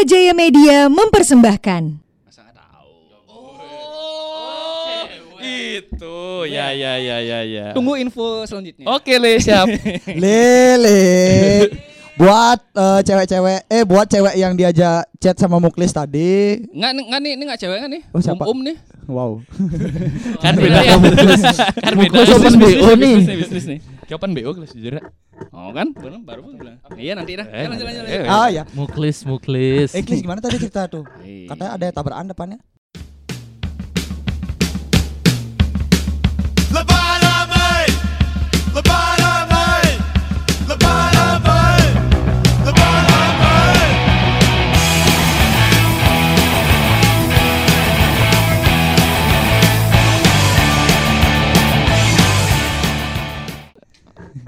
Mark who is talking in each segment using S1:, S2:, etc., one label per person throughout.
S1: Jaya Media mempersembahkan.
S2: Masa nggak tahu.
S3: Itu, ya ya ya ya ya.
S2: Tunggu info selanjutnya.
S3: Oke Le, siap.
S4: Lele. buat eh, cewek-cewek eh buat cewek yang diajak chat sama Muklis tadi.
S2: Nggak, nggak nih, ini nggak cewek nggak nih?
S4: Oh, siapa?
S2: Um, um nih.
S4: Wow.
S3: kan beda ya. kan beda.
S4: Mukul sama
S3: Bisnis,
S4: BO nih.
S3: bisnis, bisnis nih. Kapan BO kelas jujur? ya?
S2: Oh kan, baru baru pun bilang. Iya nanti dah.
S3: Eh,
S2: Ya, lanjut, lanjut,
S3: eh,
S2: lanjut.
S4: Ah ya.
S5: Muklis, muklis.
S4: Eh Klis, gimana tadi cerita tuh?
S2: Hei.
S4: Katanya ada tabrakan depannya.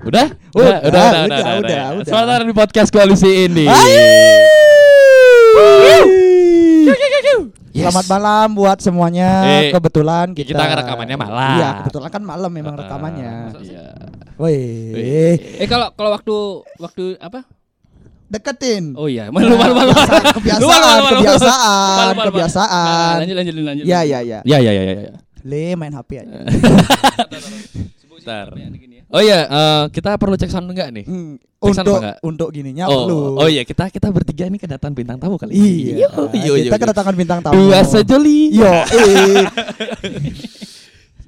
S3: Udah?
S4: Udah,
S3: udah, udah,
S4: udah,
S3: udah, udah,
S4: udah,
S3: udah.
S4: udah.
S3: Selamat datang di podcast koalisi ini.
S4: Ah!
S3: Yes.
S4: Selamat malam buat semuanya.
S3: Eh,
S4: kebetulan kita
S3: kita rekamannya malam.
S4: Iya, kebetulan kan malam memang rekamannya.
S3: Iya.
S4: Woi,
S2: Eh kalau kalau waktu waktu apa?
S4: deketin.
S2: Oh iya, malu malu malu.
S4: Kebiasaan, kebiasaan,
S2: Malu,
S4: kebiasaan,
S2: malu, malu.
S4: kebiasaan.
S2: Nah, Lanjut lanjut lanjut.
S4: Ya, ya, ya.
S3: Ya ya ya ya. ya.
S4: Le main HP aja.
S3: Eh. Bentar.
S2: Gini ya.
S3: Oh iya, eh, kita perlu cek sound enggak nih?
S4: Hmm,
S3: Pesan apa
S4: Untuk
S3: enggak?
S4: untuk gininya perlu.
S3: Oh, oh iya oh, kita kita bertiga ini kedatangan bintang tamu kali.
S4: Iya.
S3: Yo, yo,
S4: kita
S3: yo.
S4: kedatangan bintang tamu.
S3: Dua sejoli.
S4: Yo, eh.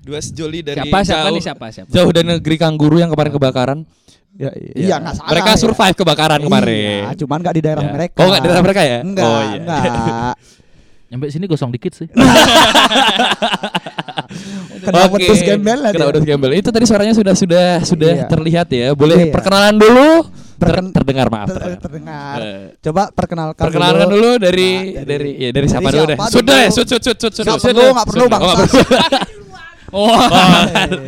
S3: Dua sejoli dari
S2: Siapa siapa
S3: jauh-
S2: nih siapa Iya. siapa?
S3: Jauh dari negeri kanguru yang kemarin kebakaran.
S4: Ya, iya, nggak salah.
S3: Mereka
S4: ya.
S3: survive kebakaran kemarin.
S4: Iya, cuman nggak di daerah
S3: Ya.
S4: mereka.
S3: Oh, nggak di daerah mereka ya?
S4: Enggak,
S3: Oh, iya.
S4: enggak.
S5: Nyampe sini gosong dikit sih.
S4: Kenapa terus gembel lah
S3: Kenapa
S4: dia?
S3: terus gembel? Itu tadi suaranya sudah sudah sudah
S4: Iya.
S3: terlihat ya. Boleh
S4: Iya.
S3: perkenalan dulu. Ter-
S4: Perken-
S3: terdengar maaf.
S4: Ter-
S3: terdengar.
S4: terdengar.
S3: Eh.
S4: Coba perkenalkan
S3: Perkenalkan dulu dari
S4: Nah,
S3: dari dari, ya, dari siapa
S4: dari
S3: dulu deh?
S4: siapa
S3: Sudah
S4: dulu?
S3: ya, sud sud sud sud sud.
S4: Nggak
S3: sud,
S4: perlu,
S3: sud.
S4: nggak perlu,
S3: Sud, nggak
S4: bangsa.
S3: perlu.
S2: Oh.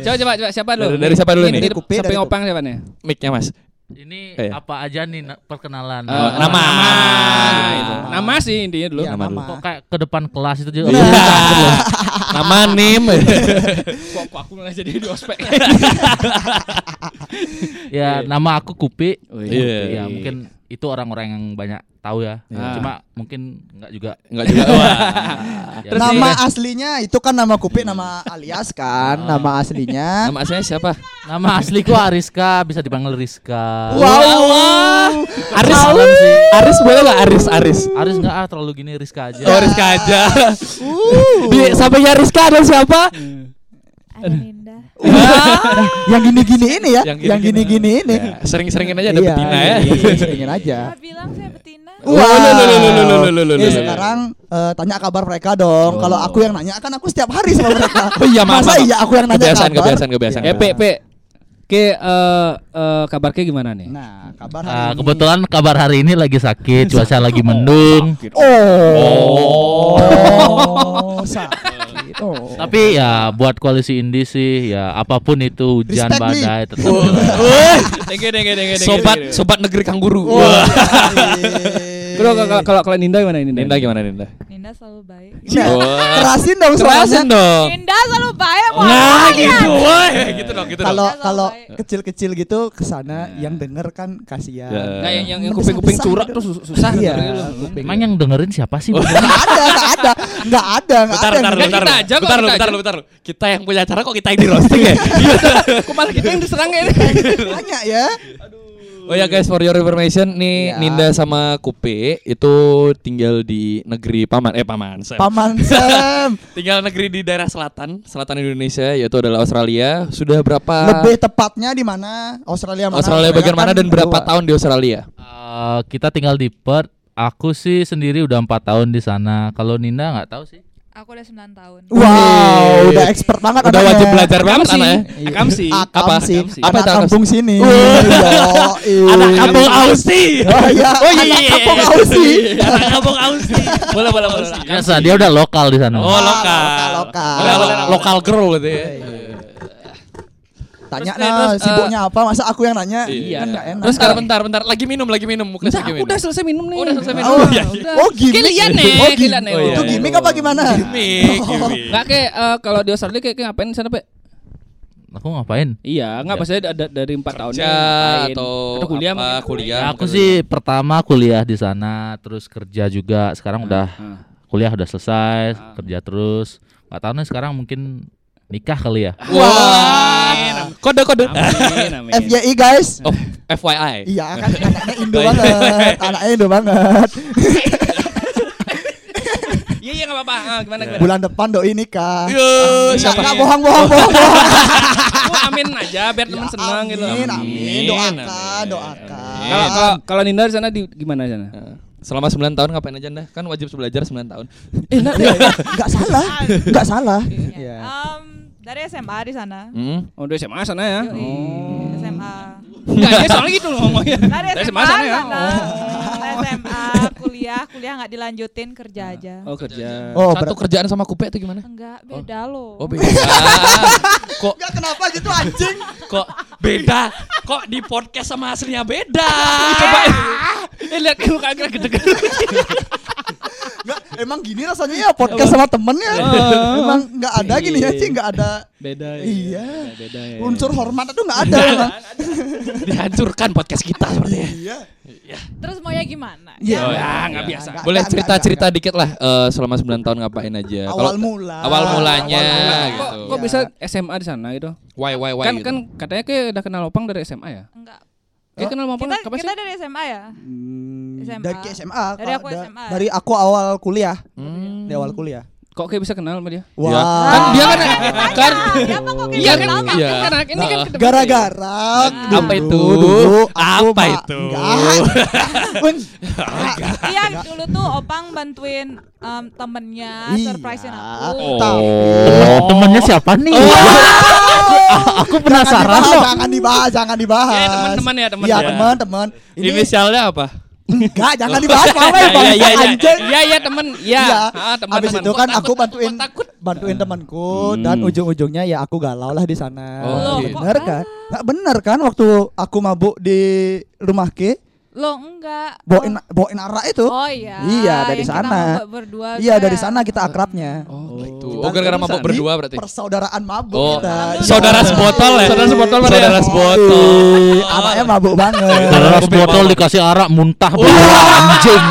S2: coba coba coba siapa dulu?
S3: Dari- dari siapa dulu
S2: Ini
S3: nih?
S2: Dari
S4: Kupi, dari
S2: samping
S4: Kupi.
S2: opang siapa nih?
S3: Mic-nya Mas.
S5: Ini
S3: Eh.
S5: apa aja nih na- perkenalan?
S2: Eh,
S3: Oh, nama.
S2: nama.
S3: Gitu.
S2: Nama sih intinya dulu.
S4: Iya,
S3: Nama
S4: nama.
S5: Kok kayak ke depan kelas itu
S4: Nah.
S5: juga. Ya,
S3: Iya. Nama nim.
S2: Kok kok aku malah jadi di ospek.
S5: ya, nama aku Kupi.
S3: Iya.
S5: Ya, mungkin itu orang-orang yang banyak tahu ya.
S2: Iya.
S5: Cuma mungkin enggak juga.
S3: Enggak juga. Wah. Ah.
S5: Ya,
S2: Terus
S4: Nama
S5: nama
S4: aslinya itu kan nama Kupi, nama alias kan, nama aslinya.
S3: Oh. Nama aslinya siapa?
S5: nama asliku Ariska, bisa dipanggil Rizka.
S3: Wow. Aris. Aris boleh nggak Aris Aris?
S5: Aris enggak ah, terlalu gini Rizka aja.
S3: Oh, Rizka aja.
S4: Uh.
S3: Di sampingnya Rizka ada siapa?
S6: Ada Linda.
S4: yang gini-gini ini ya,
S3: Yang
S4: yang gini-gini ini.
S3: Ya, sering-seringin aja ada
S4: Iya,
S3: betina ya.
S4: iya, Seringin aja.
S6: Nggak bilang saya betina.
S3: Wow. Lo, lo, lo, lo, lo, lo, lo,
S4: Eh,
S3: lo.
S4: sekarang eh, tanya kabar mereka dong. Kalau aku yang nanya kan aku setiap hari sama mereka.
S3: Oh iya, maaf,
S4: Masa
S3: maaf.
S4: iya aku yang nanya
S3: Kebiasaan,
S4: kabar?
S3: kebiasaan, kebiasaan.
S4: Iya.
S2: Eh, Pe, Pe. Ke eh eh, kabar ke gimana nih?
S4: Nah, kabar hari
S5: Ah,
S4: ini.
S5: kebetulan kabar hari ini lagi sakit, cuaca lagi mendung.
S4: Oh. Oh, sakit. Oh.
S5: Tapi ya buat koalisi indie sih ya apapun itu hujan
S4: Respect, Li.
S5: badai tetap
S3: Woi,
S2: Thank you, thank you, thank you, thank you.
S3: sobat sobat negeri kangguru.
S4: Wah. Iya.
S3: Wah.
S2: Bro, kalau kalau kalau Ninda gimana ini?
S3: Ninda gimana Ninda?
S6: Linda selalu baik.
S4: Nah,
S3: Wah.
S4: kerasin dong suaranya.
S3: dong.
S6: Linda selalu baik. mau
S3: Oh. Nah,
S6: apa ya?
S3: gitu woi. Gitu dong, gitu dong. Iya.
S4: Kalau
S6: Nggak
S4: kalau
S6: sampai.
S4: kecil-kecil gitu kesana yang denger kan kasihan.
S2: Nggak,
S3: Ya.
S2: yang yang, yang
S4: Nggak bisa
S2: kuping-kuping
S4: besar
S2: curak
S4: dong.
S2: tuh sus- susah
S4: Iya,
S2: nyarinya lu.
S4: kuping.
S5: Emang yang dengerin siapa sih?
S4: Nggak ada, nggak ada, nggak ada,
S3: Bentar,
S4: nggak ada.
S3: bentar,
S4: yang-
S3: bentar.
S2: kita aja kok,
S3: Bentar,
S2: kita
S3: bentar,
S2: aja.
S3: bentar. Kita yang punya acara kok kita yang di roasting ya?
S2: Kok malah kita yang diserang ya?
S4: Tanya ya.
S3: Oh ya guys, for your information nih
S4: Ya.
S3: Ninda sama Kupe itu tinggal di negeri Paman eh Paman. Sam.
S4: Paman Sam,
S3: tinggal negeri di daerah selatan, selatan Indonesia yaitu adalah Australia. Sudah berapa
S4: lebih tepatnya di mana? Australia
S3: Ah.
S4: mana?
S3: Australia bagian
S4: kan
S3: mana dan berapa
S4: dua.
S3: tahun di Australia?
S5: Eh, kita tinggal di Perth. Aku sih sendiri udah empat tahun di sana. Kalau Nina nggak tahu sih.
S6: Aku udah 9 tahun.
S4: Wow, udah expert
S3: Udah
S4: banget anaknya.
S3: wajib belajar banget
S2: Kamsi.
S3: anaknya.
S4: Iya.
S2: Kamsi.
S4: Akam
S3: Apa?
S4: sih.
S3: Akam sih.
S4: Apa
S3: Apa itu akam
S4: kampung sini?
S3: Wih.
S4: Yoi.
S3: Anak kampung Aussie.
S4: Oh iya, anak kampung Aussie.
S3: Anak kampung Aussie. Boleh, boleh, boleh.
S2: Iya
S5: Biasa Kan dia udah lokal di sana.
S3: Oh,
S4: Ah,
S3: lokal.
S4: lokal, lokal. Iya,
S3: Lokal, lokal, lokal girl gitu ya. Terus,
S4: Tanya nah,
S3: terus,
S4: sibuknya apa? Masa aku yang nanya?
S3: Iya.
S4: Kan nggak enak.
S3: Terus sekarang bentar, bentar. Lagi minum, lagi minum. Muklis lagi minum.
S2: Udah selesai minum nih.
S3: Oh, udah selesai minum.
S4: Oh,
S3: iya,
S4: iya. oh gimmick.
S2: Kalian nih,
S4: Oh,
S2: kalian
S4: gimmick.
S2: nih.
S3: Oh, iya,
S4: Itu
S3: iya.
S4: gimmick apa gimana?
S3: Gimik, gimik.
S2: Nggak kayak eh, kalau di Australia kayak kayak ngapain di sana, Pe?
S5: aku ngapain?
S2: Iya, enggak maksudnya da- da- dari 4 tahunnya
S3: Kerja
S2: ngapain?
S3: atau
S2: kuliah
S3: apa,
S2: mungkin.
S3: kuliah.
S5: Ya, aku sih pertama kuliah di sana, terus kerja juga. Sekarang udah
S2: Ah.
S5: kuliah udah selesai,
S2: Ah.
S5: kerja terus. Gak tahu nih sekarang mungkin nikah kali ya.
S3: Wah. Kode kode.
S2: Amin, amin.
S4: FJI guys.
S3: Oh, FYI.
S4: Iya kan anaknya Indo banget, anaknya Indo banget.
S2: Iya, iya enggak apa-apa. Ah, gimana gimana?
S4: Bulan depan doi nikah.
S3: Yo,
S4: Nggak,
S3: Iya, siapa
S4: nggak,
S3: ya?
S4: bohong bohong bohong. bohong.
S2: Aku amin aja biar teman
S4: Ya,
S2: senang gitu.
S4: Amin, amin. Doakan,
S3: amin.
S4: doakan.
S2: Kalau kalau kalau Ninda di sana di gimana di sana?
S3: Eh, Selama 9 tahun ngapain aja Anda? Kan wajib belajar 9 tahun.
S2: Eh, enggak.
S4: Iya, iya. Nggak salah, nggak salah. Iya.
S6: Em, Um, dari SMA di sana.
S3: Hmm.
S2: Oh, udah SMA sana ya.
S6: Yoi, SMA.
S2: Enggak, dia soalnya gitu loh ngomongnya.
S6: Dari
S2: Dari
S6: SMA
S2: sana
S6: sana.
S2: ya?
S6: SMA, kuliah, kuliah nggak dilanjutin kerja aja.
S2: Oh, kerja.
S4: Oh,
S3: Satu
S4: berat.
S3: kerjaan sama kupe itu gimana?
S6: Enggak, beda loh.
S3: Oh, beda. kok
S4: Nggak, kenapa gitu anjing?
S3: kok beda? Kok di podcast sama aslinya beda?
S2: Coba
S3: ya.
S2: eh lihat kamu kagak gede-gede.
S4: Nggak, emang gini rasanya ya podcast sama temennya. Emang nggak ada gini ya, Cing, nggak ada
S2: Beda.
S3: ya.
S4: Iya.
S2: Beda ya.
S4: unsur hormat itu nggak ada. emang.
S3: Dihancurkan podcast kita sepertinya.
S4: Iya.
S6: Terus maunya gimana?
S4: Iya.
S2: Oh, ya, enggak biasa.
S4: Nggak,
S3: Boleh
S4: nggak, nggak,
S3: cerita-cerita dikit lah eh, selama 9 tahun ngapain aja. Kalau
S4: Awal mula.
S3: awal mulanya
S4: Awal mula.
S2: Kok,
S3: gitu.
S2: kok bisa SMA di sana gitu?
S3: why why why
S2: kan
S3: gitu.
S2: kan katanya kayak udah kenal Opang dari SMA ya?
S6: Enggak.
S4: Oh.
S2: Kayak kenal Opang
S6: Kita
S2: kapan
S6: kita
S2: sih?
S6: dari SMA ya?
S4: Hmm,
S6: SMA.
S4: Dari ke SMA.
S6: Dari
S4: kalau
S6: aku
S4: da-
S6: SMA.
S4: Dari aku awal kuliah.
S3: Hmm.
S4: Di awal kuliah.
S2: Kok kayak bisa kenal sama dia?
S4: Wah.
S3: Ya. Kan dia kan kan
S6: Siapa kok
S2: Iya
S6: kayak gitu?
S2: kan,
S6: kenal
S3: iya.
S2: kan anak ini kan kedepan
S4: Gara-gara
S3: Nah, apa
S4: dulu-
S3: itu?
S4: dulu aku
S3: Apa
S4: ma-
S3: itu?
S4: Enggak. Men-
S6: Iya dulu tuh Opang bantuin em, temennya surprisein Nah, aku.
S4: Iya, tapi-
S2: Oh.
S5: Temen- Oh, Temennya siapa nih? aku
S4: Jangan
S5: penasaran
S4: dibahas,
S5: loh.
S4: jangan dibahas, jangan dibahas.
S2: Ya, teman-teman ya, teman.
S4: Iya,
S2: Ya.
S4: teman-teman. Ini
S3: Inisialnya apa? Ya,
S4: enggak, jangan dibahas, Pawe,
S2: Iya iya iya.
S4: anjing.
S2: Iya iya temen. Iya.
S4: Iya.
S2: Ah, teman.
S4: Habis
S2: teman.
S4: itu kan
S2: Kok
S4: aku
S2: takut?
S4: bantuin
S2: Kok takut.
S4: bantuin
S3: Hmm.
S4: temanku dan ujung-ujungnya ya aku galau lah di sana.
S3: Oh,
S6: Loh, gitu.
S4: bener
S6: kok
S4: kan? Enggak bener kan waktu aku mabuk di rumah K,
S6: Lo enggak.
S4: bawain bawain arak itu.
S6: Oh iya.
S4: Iya, dari
S6: yang kita
S4: sana.
S6: mabok berdua.
S4: Iya,
S6: juga
S4: dari
S6: ya.
S4: sana kita akrabnya.
S3: Oh, gitu.
S4: Kita
S3: Oh, gara-gara mabok
S4: ini
S3: berdua berarti.
S4: Persaudaraan mabuk
S3: Oh,
S4: kita.
S3: saudara sebotol ya?
S2: Saudara sebotol berarti ya?
S3: Saudara sebotol.
S4: Ih, Iya, Anaknya mabuk banget.
S5: Terus
S3: Aku
S5: botol
S3: memang-
S5: dikasih arak muntah bener,
S2: Oh.
S5: anjing.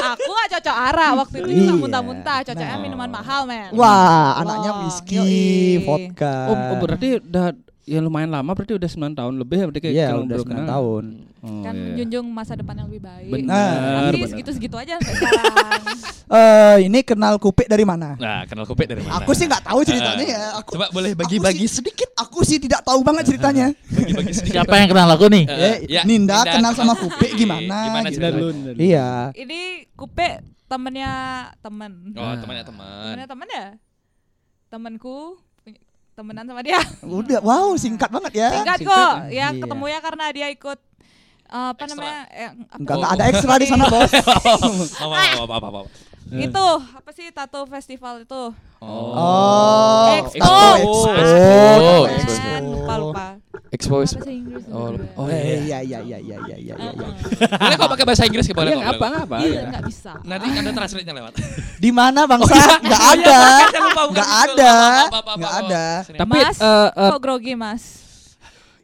S6: Aku gak cocok arah waktu itu juga
S4: Iya.
S6: muntah-muntah. Cocoknya minuman mahal men.
S4: Wah, anaknya
S6: Wah,
S4: whisky,
S6: yoi.
S4: vodka.
S2: Oh, oh, berarti udah ya lumayan lama berarti udah 9 tahun lebih ya berarti kayak
S4: Iya,
S2: kalau
S4: udah
S2: baru
S4: 9
S2: kenal.
S4: tahun.
S2: Oh,
S6: Kan
S2: iya.
S6: menjunjung masa depan yang lebih baik.
S2: Benar,
S6: Tapi
S2: benar.
S6: segitu-segitu aja sampai sekarang.
S4: Eh, ini kenal kupik dari mana?
S3: Nah, kenal kopi dari mana?
S4: Aku sih nggak tahu ceritanya
S3: Eh,
S4: ya. Aku,
S3: Coba boleh
S4: aku
S3: bagi-bagi
S4: sih- sedikit. Eh, Aku sih tidak tahu banget ceritanya.
S3: bagi-bagi sedikit.
S5: Siapa yang kenal aku nih?
S3: Eh,
S4: Eh, Ninda kenal sama Kupik gimana
S3: Gimana
S4: gitu.
S2: Dan
S3: ceritanya?
S2: lu, dan lu.
S4: iya.
S6: Ini kupe temennya temen.
S3: Oh, temannya teman.
S6: Temennya temen ya? Temenku punya- temenan sama dia.
S4: Udah, wow, singkat banget ya.
S6: Singkat
S2: singkat
S6: kok. Ya
S4: Iya.
S6: ketemu ya karena dia ikut eh,
S3: Ekstra.
S6: apa
S3: Oh.
S6: namanya? eh, apa?
S4: Enggak enggak ada ekstra di sana, Bos.
S3: Apa apa apa apa.
S6: Itu apa sih tato festival itu?
S4: Oh.
S6: Expo.
S4: Expo.
S3: Expo.
S4: Expo.
S6: Eh, lupa lupa.
S3: Expose.
S6: Bahasa Inggris.
S3: Oh,
S6: juga.
S3: oh
S4: Eh,
S3: iya.
S4: Iya, iya, iya, iya, iya, iya, iya.
S5: Uh-uh.
S3: Boleh kok pakai bahasa Inggris boleh
S2: Iya,
S3: kok.
S2: nggak apa
S3: boleh
S2: nggak apa.
S6: Iya, nggak bisa.
S3: kok. Nanti ada translate-nya lewat.
S4: Di mana, Bangsa? Enggak ada. Enggak
S3: kan
S4: ada. Enggak ada.
S2: Tapi
S6: Mas,
S2: eh, eh,
S6: kok grogi mas?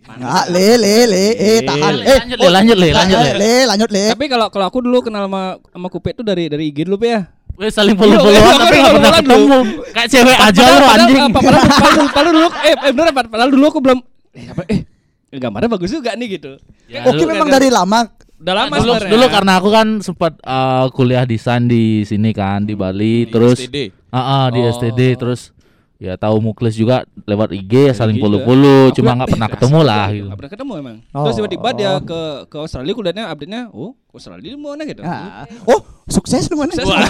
S4: Enggak, le, le, le. Eh, tahan. Eh,
S5: Lanjut le, lanjut le, lanjut le.
S4: eh, le, lanjut, le.
S2: tapi kalau kalau aku dulu kenal sama sama Kupe itu dari dari IG dulu Pe, ya.
S5: Weh saling follow-followan
S2: Iya,
S5: tapi
S2: iya,
S5: gak pernah
S2: follow-followan
S5: ketemu. Kayak cewek aja
S2: Padahal-
S5: lo
S2: padahal-
S5: anjing.
S2: eh, Padahal, padahal- padahal dulu eh, eh bener Pak. padahal dulu aku belum eh, apa eh gambarnya bagus juga nih gitu.
S5: Ya,
S4: Oke, memang dari lama.
S2: Udah lama
S5: dulu,
S2: sebenarnya.
S5: dulu karena aku kan sempat eh, kuliah desain di sini kan di Bali terus
S3: STD.
S5: Ah, ah, di
S3: Oh.
S5: STD terus ya tahu muklis juga lewat IG ya saling
S2: Iya.
S5: follow-follow
S2: Aku liat,
S5: cuma nggak
S2: eh,
S5: pernah
S2: nggak
S5: ketemu
S2: asik
S5: lah
S2: gitu.
S5: gitu.
S2: Nggak pernah ketemu emang.
S4: Oh.
S2: Terus tiba-tiba dia ke ke Australia aku liatnya update-nya, oh, ke Australia di mana gitu.
S4: Ah. Oh, sukses lu mana?
S2: Sukses.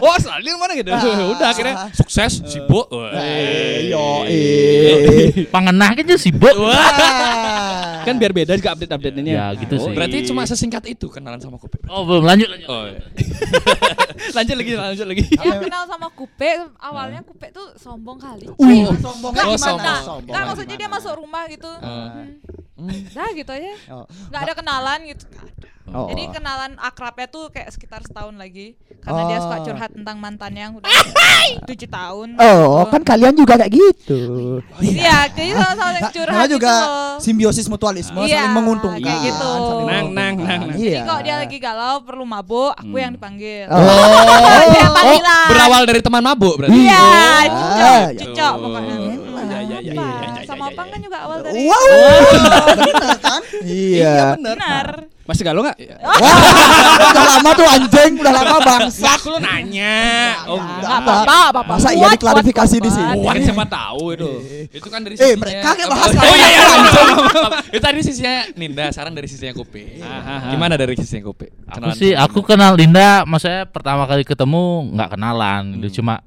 S2: oh, Australia di mana gitu. Udah akhirnya
S5: Ah.
S3: Sukses, sibuk.
S4: Eh, yo, eh.
S5: Pangenah kan juga sibuk.
S6: Ah.
S2: kan biar beda juga update-update-nya. Oh,
S5: Ya, gitu sih.
S3: Berarti cuma sesingkat itu kenalan sama kopi.
S5: Oh, belum lanjut lanjut.
S3: Oh. iya.
S2: lanjut lagi, lanjut lagi.
S6: Ya kenal sama Kupe, awalnya Kupe tuh sombong kali.
S2: Uh.
S4: Wih,
S3: Oh,
S4: sombong
S3: oh,
S4: gimana?
S3: sombong.
S6: Nah,
S4: Sombong
S6: nah,
S4: gimana?
S6: maksudnya dia masuk rumah gitu.
S3: Ah.
S6: Dah gitu aja.
S4: Oh.
S6: Nggak ada kenalan gitu. Nggak ada.
S4: Oh.
S6: Jadi kenalan akrabnya tuh kayak sekitar setahun lagi karena dia suka
S4: Oh.
S6: curhat tentang mantannya yang udah tujuh tahun.
S4: Oh,
S6: gitu.
S4: kan kalian juga kayak gitu.
S6: Iya, jadi sama-sama yang curhat
S4: Namanya Nah, juga
S6: gitu loh.
S4: simbiosis mutualisme
S6: Iya,
S4: saling menguntungkan.
S6: kayak gitu.
S4: saling
S2: Nang, nang,
S4: menguntungkan.
S2: nang, nang.
S4: Iya.
S6: Jadi kalau dia lagi galau perlu mabuk, aku yang dipanggil.
S4: Oh.
S6: Dia panggilan.
S3: Oh, Berawal dari teman mabuk berarti. Oh.
S6: Iya, cucok,
S4: Ah,
S6: cucok
S3: gitu.
S6: pokoknya.
S2: Iya, iya, iya,
S6: Apa?
S2: iya, iya,
S6: Sama
S2: iya,
S6: Opang kan juga awal dari
S4: Wow. Bener kan? Iya.
S2: bener.
S6: benar.
S2: Masih galau nggak?
S4: Wah, udah lama tuh anjing, udah lama bangsat.
S2: Aku lu nanya. Oh,
S4: Enggak apa-apa, apa-apa. Saya ya diklarifikasi di sini. Iya.
S2: Kuat
S3: siapa tahu itu. Itu kan dari
S4: Eh,
S3: sisinya-
S4: mereka
S2: ya.
S4: kayak
S3: apa-
S4: bahas
S3: Oh
S4: lain.
S2: eh,
S3: iya iya. Itu tadi sisinya Ninda, saran dari sisinya Kopi. ah. Gimana dari sisinya Kopi?
S5: Aku sih aku kenal Linda, maksudnya pertama kali ketemu nggak kenalan, gitu cuma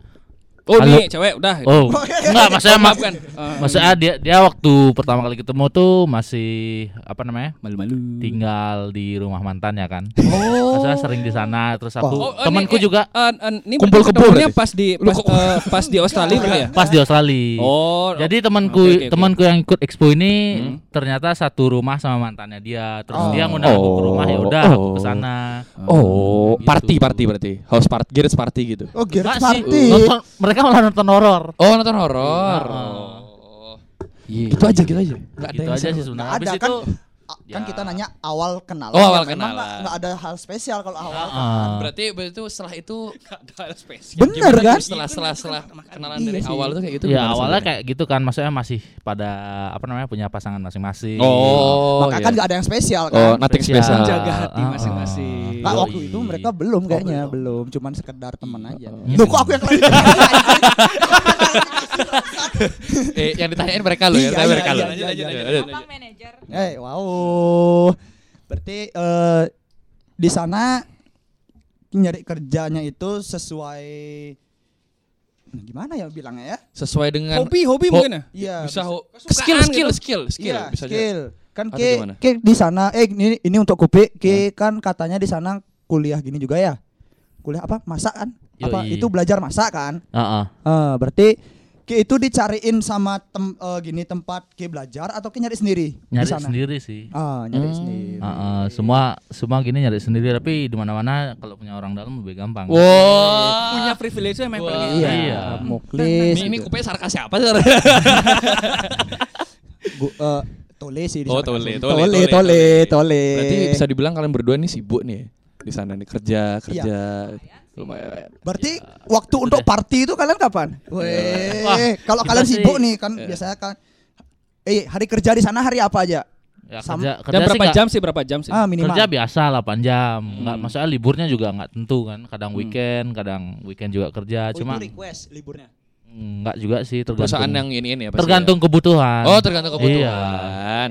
S2: Oh,
S5: Halo.
S2: nih cewek udah.
S5: oh nggak maksudnya ma-
S2: bukan. Eh,
S5: maksudnya dia dia waktu pertama kali ketemu tuh masih apa namanya
S2: malu-malu.
S5: tinggal di rumah mantannya kan.
S4: Oh.
S5: Maksudnya sering di sana terus aku
S2: Oh, oh, ini- ini-
S5: temanku juga
S2: eh, eh, ini
S3: Kumpul-kumpul
S2: ketemunya
S3: berarti.
S2: pas di
S3: Lu
S2: pas,
S3: kok-
S2: eh, pas di Australia gitu ya.
S5: pas di Australia.
S2: Oh,
S5: Iya. Jadi temanku
S2: oke, oke, oke.
S5: temanku yang ikut expo ini
S2: Hmm.
S5: ternyata satu rumah sama mantannya dia. Terus
S4: Oh.
S5: dia ngundang aku ke rumah ya udah aku ke
S3: Oh.
S5: sana.
S3: Oh,
S5: Gitu.
S3: party party berarti. House party, Garage party gitu.
S4: Oh, Gear
S5: Nggak sih,
S4: Party.
S5: nonton- mereka malah nonton horor.
S3: Oh, nonton horor.
S2: Oh.
S3: Iya. Gitu aja gitu aja. Enggak
S5: Gitu aja sih sebenarnya.
S4: Nggak ada,
S5: Habis
S4: kan
S5: itu
S4: Kan kita nanya awal kenalan.
S3: Oh, awal
S4: Ya, memang
S3: kenalan.
S4: nggak- nggak ada hal spesial kalau awal.
S5: ah,
S3: Berarti berarti itu setelah itu
S2: spesial.
S4: Bener
S3: gimana
S4: kan?
S3: tuh Setelah setelah setelah kenalan
S4: Iya
S3: dari
S4: sih.
S3: awal tuh kayak gitu.
S5: ya
S3: gimana
S5: awalnya
S3: sebenarnya?
S5: kayak gitu kan maksudnya masih pada apa namanya punya pasangan masing-masing.
S3: Oh,
S4: Maka kan
S3: iya.
S4: nggak ada yang spesial
S3: Oh, iya.
S4: kan.
S3: nothing
S5: gitu. Spesial.
S3: spesial.
S2: Jaga hati
S5: Ah, ah.
S2: masing-masing.
S4: Nah,
S5: Yoi.
S4: waktu itu mereka belum
S3: Oh,
S4: kayaknya,
S3: iya.
S4: belum, cuman sekedar teman aja.
S5: Iya.
S4: Loh, kok aku yang
S3: Eh, yang ditanyain mereka lo ya,
S4: Iya,
S3: tanya
S4: iya,
S3: mereka lo.
S4: iya, iya, iya, iya.
S3: Lanjut.
S6: Opang manajer.
S4: Eh, wow. Berarti eh, di sana nyari kerjanya itu sesuai Nah, gimana ya bilangnya ya?
S3: Sesuai dengan
S2: Hobi, hobi
S3: Ho-
S2: mungkin ya?
S4: Iya.
S3: bisa ho-
S2: Kesukaan
S3: skill
S2: gitu.
S3: skill skill skill
S4: iya,
S3: bisa aja.
S4: skill. Kan
S3: Atau
S4: ke,
S3: gimana? Iya.
S4: ke di sana eh ini ini untuk Kopi, ke kan katanya di sana kuliah gini juga ya. Kuliah apa? Masak kan? Apa
S5: Yoi.
S4: itu belajar masak kan?
S5: Heeh.
S4: Eh, berarti Ki itu dicariin sama tem- eh, gini tempat Ki belajar atau Ki nyari sendiri
S5: Nyari
S4: di sana?
S5: sendiri sih.
S4: Ah, nyari sendiri.
S5: Ah, ah, semua semua gini nyari sendiri tapi di mana-mana kalau punya orang dalam lebih gampang.
S3: Oh, Wah.
S2: Punya privilege yang memang
S3: Wah.
S2: kayak gitu.
S4: Iya,
S5: Iya.
S4: muklis.
S3: Ini,
S2: iya.
S3: ini
S4: gitu.
S3: kupe sarkas siapa sih?
S4: Gu- eh, tole sih di
S3: Oh,
S4: sana.
S3: tole, tole,
S4: tole, tole,
S3: tole, tole.
S4: tole.
S3: Berarti bisa dibilang kalian berdua nih sibuk nih di sana nih kerja kerja lumayan.
S4: Berarti
S5: Iya.
S4: waktu untuk party itu kalian kapan? Weh, kalau
S5: kita
S4: kalian
S5: sih- iya.
S4: sibuk nih kan biasanya kan eh hari kerja di sana hari apa aja?
S5: Ya,
S4: Sam-
S5: kerja kerja
S2: Dan
S5: sih
S2: berapa
S5: nggak-
S2: jam sih? Berapa jam sih?
S4: Ah, minimal.
S5: kerja biasa 8 jam. Enggak masalah liburnya juga nggak tentu kan. Kadang weekend, kadang weekend juga kerja.
S4: Oh,
S5: Cuma
S4: itu request liburnya.
S5: nggak juga sih tergantung.
S3: Perusahaan yang ini ini ya pasti
S5: tergantung kebutuhan.
S3: ya? Oh, tergantung
S5: Iya.
S3: kebutuhan.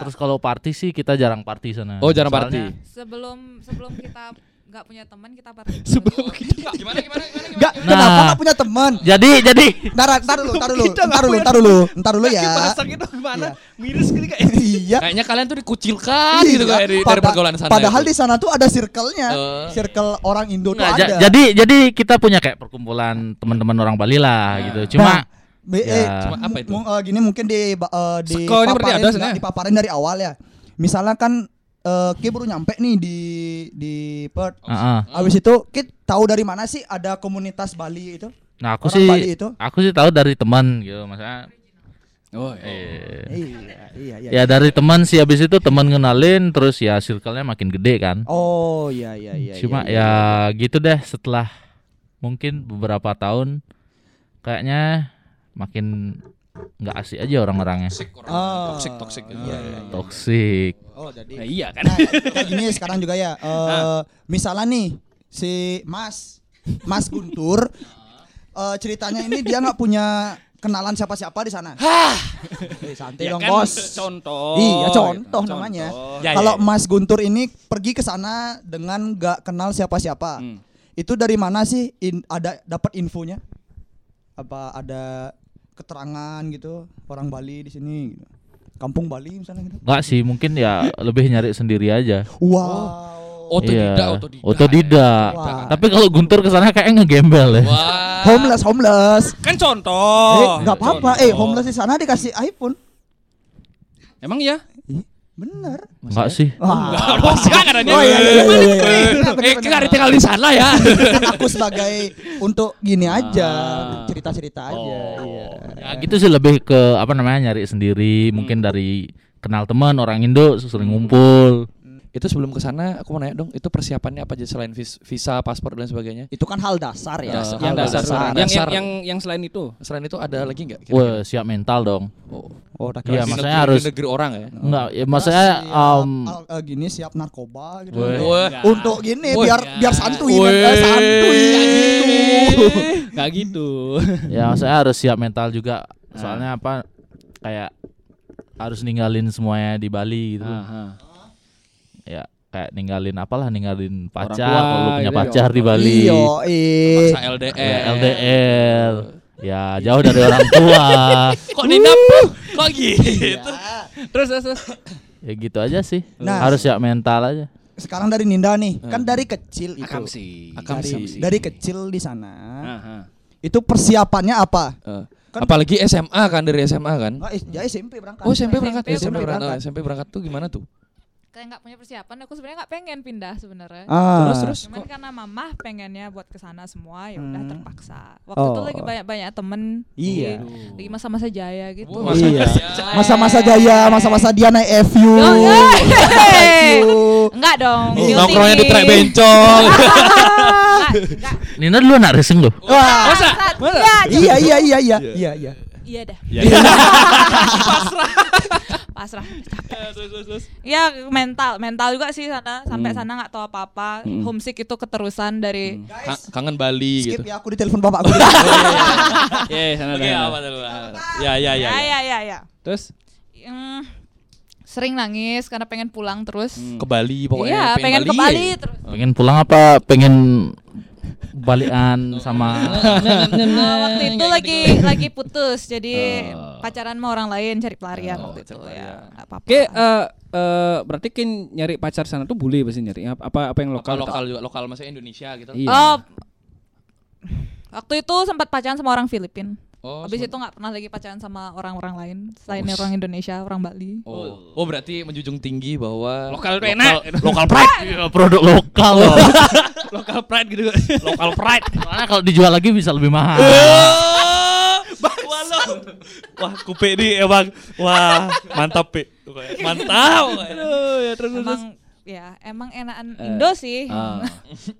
S5: Terus kalau party sih kita jarang party sana.
S3: Oh, jarang
S5: Soalnya-
S3: party.
S6: Sebelum sebelum kita nggak punya teman kita party.
S2: Sebelum
S6: dulu.
S2: kita
S3: Gimana gimana gimana?
S4: Enggak,
S5: Nah. Ya.
S4: kenapa enggak punya teman?
S5: Jadi jadi
S4: Ntar, ntar dulu, ntar dulu,
S2: Kita nggak
S4: ntar dulu,
S2: punya
S4: ntar dulu, ntar dulu ya.
S2: Bahasa gitu gimana? Miris gini kayak.
S4: Iya.
S3: Kayaknya kalian tuh dikucilkan gitu
S4: Iya,
S3: kayak dari, dari
S4: pada-
S3: pergaulan sana.
S4: Padahal
S3: itu.
S4: di sana tuh ada circle-nya.
S3: Eh. Nah,
S4: Circle orang Indo tuh
S5: Nggak, ja-
S4: ada.
S5: jadi jadi kita punya kayak perkumpulan teman-teman orang Bali lah gitu. Cuma
S4: Be-
S5: Ya.
S4: eh,
S5: Cuma
S3: apa itu?
S4: mu- eh, gini mungkin di ba- eh, di
S2: Sekolahnya berarti ada sebenarnya?
S4: dipaparin dari awal ya. Misalnya kan eh Ki baru nyampe nih di di Perth.
S3: Oh.
S5: Ah, ah.
S4: Abis itu Ki tahu dari mana sih ada komunitas Bali itu?
S5: Nah, aku
S4: Orang
S5: sih
S4: Bali itu?
S5: aku sih tahu dari teman gitu, maksudnya
S2: Oh,
S5: eh,
S4: Iya, iya, iya.
S5: ya dari teman sih habis itu teman ngenalin terus ya circle-nya makin gede kan.
S4: Oh, iya iya iya.
S5: Cuma
S4: iya,
S5: ya gitu deh setelah mungkin beberapa tahun kayaknya makin nggak asik aja orang-orangnya.
S4: Ah.
S3: ya, Toxic toxic gitu.
S4: Iya, iya, iya.
S5: Toxic.
S4: Oh, jadi
S2: Nah, iya kan.
S4: Nah, kayak gini sekarang juga ya. Eh misalnya nih si Mas Mas Guntur eh ceritanya ini dia nggak punya kenalan siapa-siapa di sana. Eh, santai
S2: Ya
S4: dong,
S2: kan,
S4: Bos.
S2: Contoh.
S4: Iya,
S2: gitu.
S4: contoh namanya.
S3: Ya, ya,
S4: Kalau
S3: ya.
S4: Mas Guntur ini pergi ke sana dengan nggak kenal siapa-siapa.
S2: Hmm.
S4: Itu dari mana sih in- ada dapat infonya? Apa ada keterangan gitu orang Bali di sini gitu. Kampung Bali misalnya gitu.
S5: Nggak sih, mungkin ya lebih nyari sendiri aja.
S4: Wow.
S3: Otodidak,
S5: Iya.
S3: otodidak.
S5: Otodidak.
S4: Wah.
S5: Tapi kalau Guntur kesana kayaknya ngegembel ya.
S3: Wah.
S4: Homeless, homeless.
S2: Kan contoh.
S4: eh, nggak apa-apa. Eh, homeless di sana dikasih iPhone.
S2: Emang ya?
S4: Bener.
S5: Enggak sih.
S4: Wah.
S3: Wah, silakan aja.
S4: Oh, iya, iya, iya, iya, iya.
S3: Eh, kita ada tinggal di sana
S2: Iya,
S3: ya.
S4: Kan aku sebagai untuk gini aja cerita-cerita aja. Iya.
S5: Ya, gitu sih lebih ke apa namanya nyari sendiri, mungkin dari kenal teman orang Indo sering ngumpul.
S3: Itu sebelum ke sana aku mau nanya dong, itu persiapannya apa aja selain vis- visa, paspor dan sebagainya?
S4: Itu kan hal dasar ya.
S3: Dasar.
S2: yang
S4: Hal
S2: dasar,
S3: dasar.
S2: Yang, yang
S3: Dasar.
S2: yang yang selain itu
S3: Selain itu ada lagi nggak? kira-kira?
S5: Wah, siap mental dong.
S3: Oh.
S4: Oh, tak kira-
S5: Iya,
S3: Di
S5: maksudnya
S3: negeri- di
S5: harus-
S3: negeri orang ya.
S5: Enggak, ya maksudnya
S4: Siap,
S5: um,
S4: al- eh, gini siap narkoba gitu.
S5: Weh.
S3: Wah.
S4: Untuk gini
S3: Woi.
S4: biar biar santuy men. Eh,
S3: Weh.
S4: santuy
S3: Nggak
S4: gitu.
S2: nggak gitu
S5: ya maksudnya harus siap mental juga. Soalnya apa kayak harus ninggalin semuanya di Bali gitu.
S2: Aha.
S5: Ya kayak ninggalin apalah ninggalin pacar,
S2: tua,
S5: kalau lu punya
S2: gitu ya. Eh.
S5: pacar di Bali.
S4: Iya, eh.
S3: Paksa LDR.
S2: E. Iya,
S5: Ya, LDR. Ya jauh dari orang tua.
S2: Eh,
S3: Kok Nina? Kok
S2: Iya.
S3: gitu?
S2: terus terus, terus.
S5: ya gitu aja sih.
S4: Nah.
S5: Harus siap mental aja.
S4: Sekarang dari Ninda nih, kan dari kecil itu.
S2: akam Ah, sih Ah.
S3: Akam
S4: dari,
S3: sih.
S4: dari kecil di sana.
S2: Aha.
S4: Itu persiapannya apa?
S3: Eh,
S4: Kan-
S3: Apalagi SMA kan dari SMA kan?
S4: Ah, eh, ya SMP berangkat.
S3: Oh SMP berangkat,
S6: SMP
S3: SMP berangkat, Oh,
S4: berangkat.
S3: SMP berangkat tuh gimana tuh?
S6: Kayak nggak punya persiapan, aku sebenarnya nggak pengen pindah sebenarnya.
S4: Ah.
S3: Terus terus
S6: Cuman karena mamah pengennya buat kesana semua, ya udah
S4: Hmm.
S6: terpaksa. Waktu itu
S4: Oh.
S6: lagi banyak-banyak temen,
S4: Iya.
S6: lagi- lagi masa-masa jaya gitu.
S3: Wah, masa-
S4: Iya.
S3: Masa-
S4: Masa-masa jaya, masa-masa dia naik FU.
S6: Oh,
S4: FU.
S6: Enggak dong. guilty.
S3: Oh, nongkrongnya di trek bencong.
S6: Enggak, enggak.
S5: Nina dulu anak racing loh.
S4: Wah.
S3: Masa?
S4: Iya,
S6: Iya,
S4: iya, iya, iya, iya, iya.
S6: Iya dah. Pasrah. Pasrah.
S3: Iya,
S6: Ya mental, mental juga sih sana
S4: Hmm.
S6: sampai sana nggak tahu apa-apa. Homesick itu keterusan dari
S3: Ka- Kangen Bali
S4: Skip
S3: gitu.
S4: ya, aku ditelepon bapakku.
S2: Ye, sana
S3: Oke,
S2: sana.
S3: apa tuh? Ya ya ya.
S6: ya
S3: ya.
S6: ya ya ya.
S2: terus
S6: Mm, sering nangis karena pengen pulang terus.
S3: Ke Bali Hmm, pokoknya.
S6: Iya, pengen ke Bali terus.
S5: Pengen pulang apa? Pengen balikan sama
S6: Nah, waktu itu lagi lagi putus, jadi pacaran sama orang lain cari pelarian waktu itu ya. Nggak apa-apa.
S2: oke eh eh, berarti kin nyari pacar sana tuh boleh pasti nyari apa apa yang
S3: Lokal
S2: lokal
S3: lokal juga, lokal maksudnya Indonesia gitu.
S2: atau- iya
S6: Oh, waktu itu sempat pacaran sama orang Filipina.
S3: Oh,
S6: Habis
S3: sempat-
S6: itu nggak pernah lagi pacaran sama orang-orang lain selain orang Indonesia, orang Bali.
S3: Oh. oh berarti menjunjung tinggi bahwa
S2: Lokal tuh enak.
S3: lokal pride
S5: Iya, produk lokal loh.
S2: lokal pride gitu
S3: lokal pride
S5: Soalnya kalau dijual lagi bisa lebih mahal.
S3: wah kupe nih emang wah mantap pe mantap
S2: Aduh, ya terus terus, terus
S6: Emang ya, emang enakan Indo sih.
S2: Ah.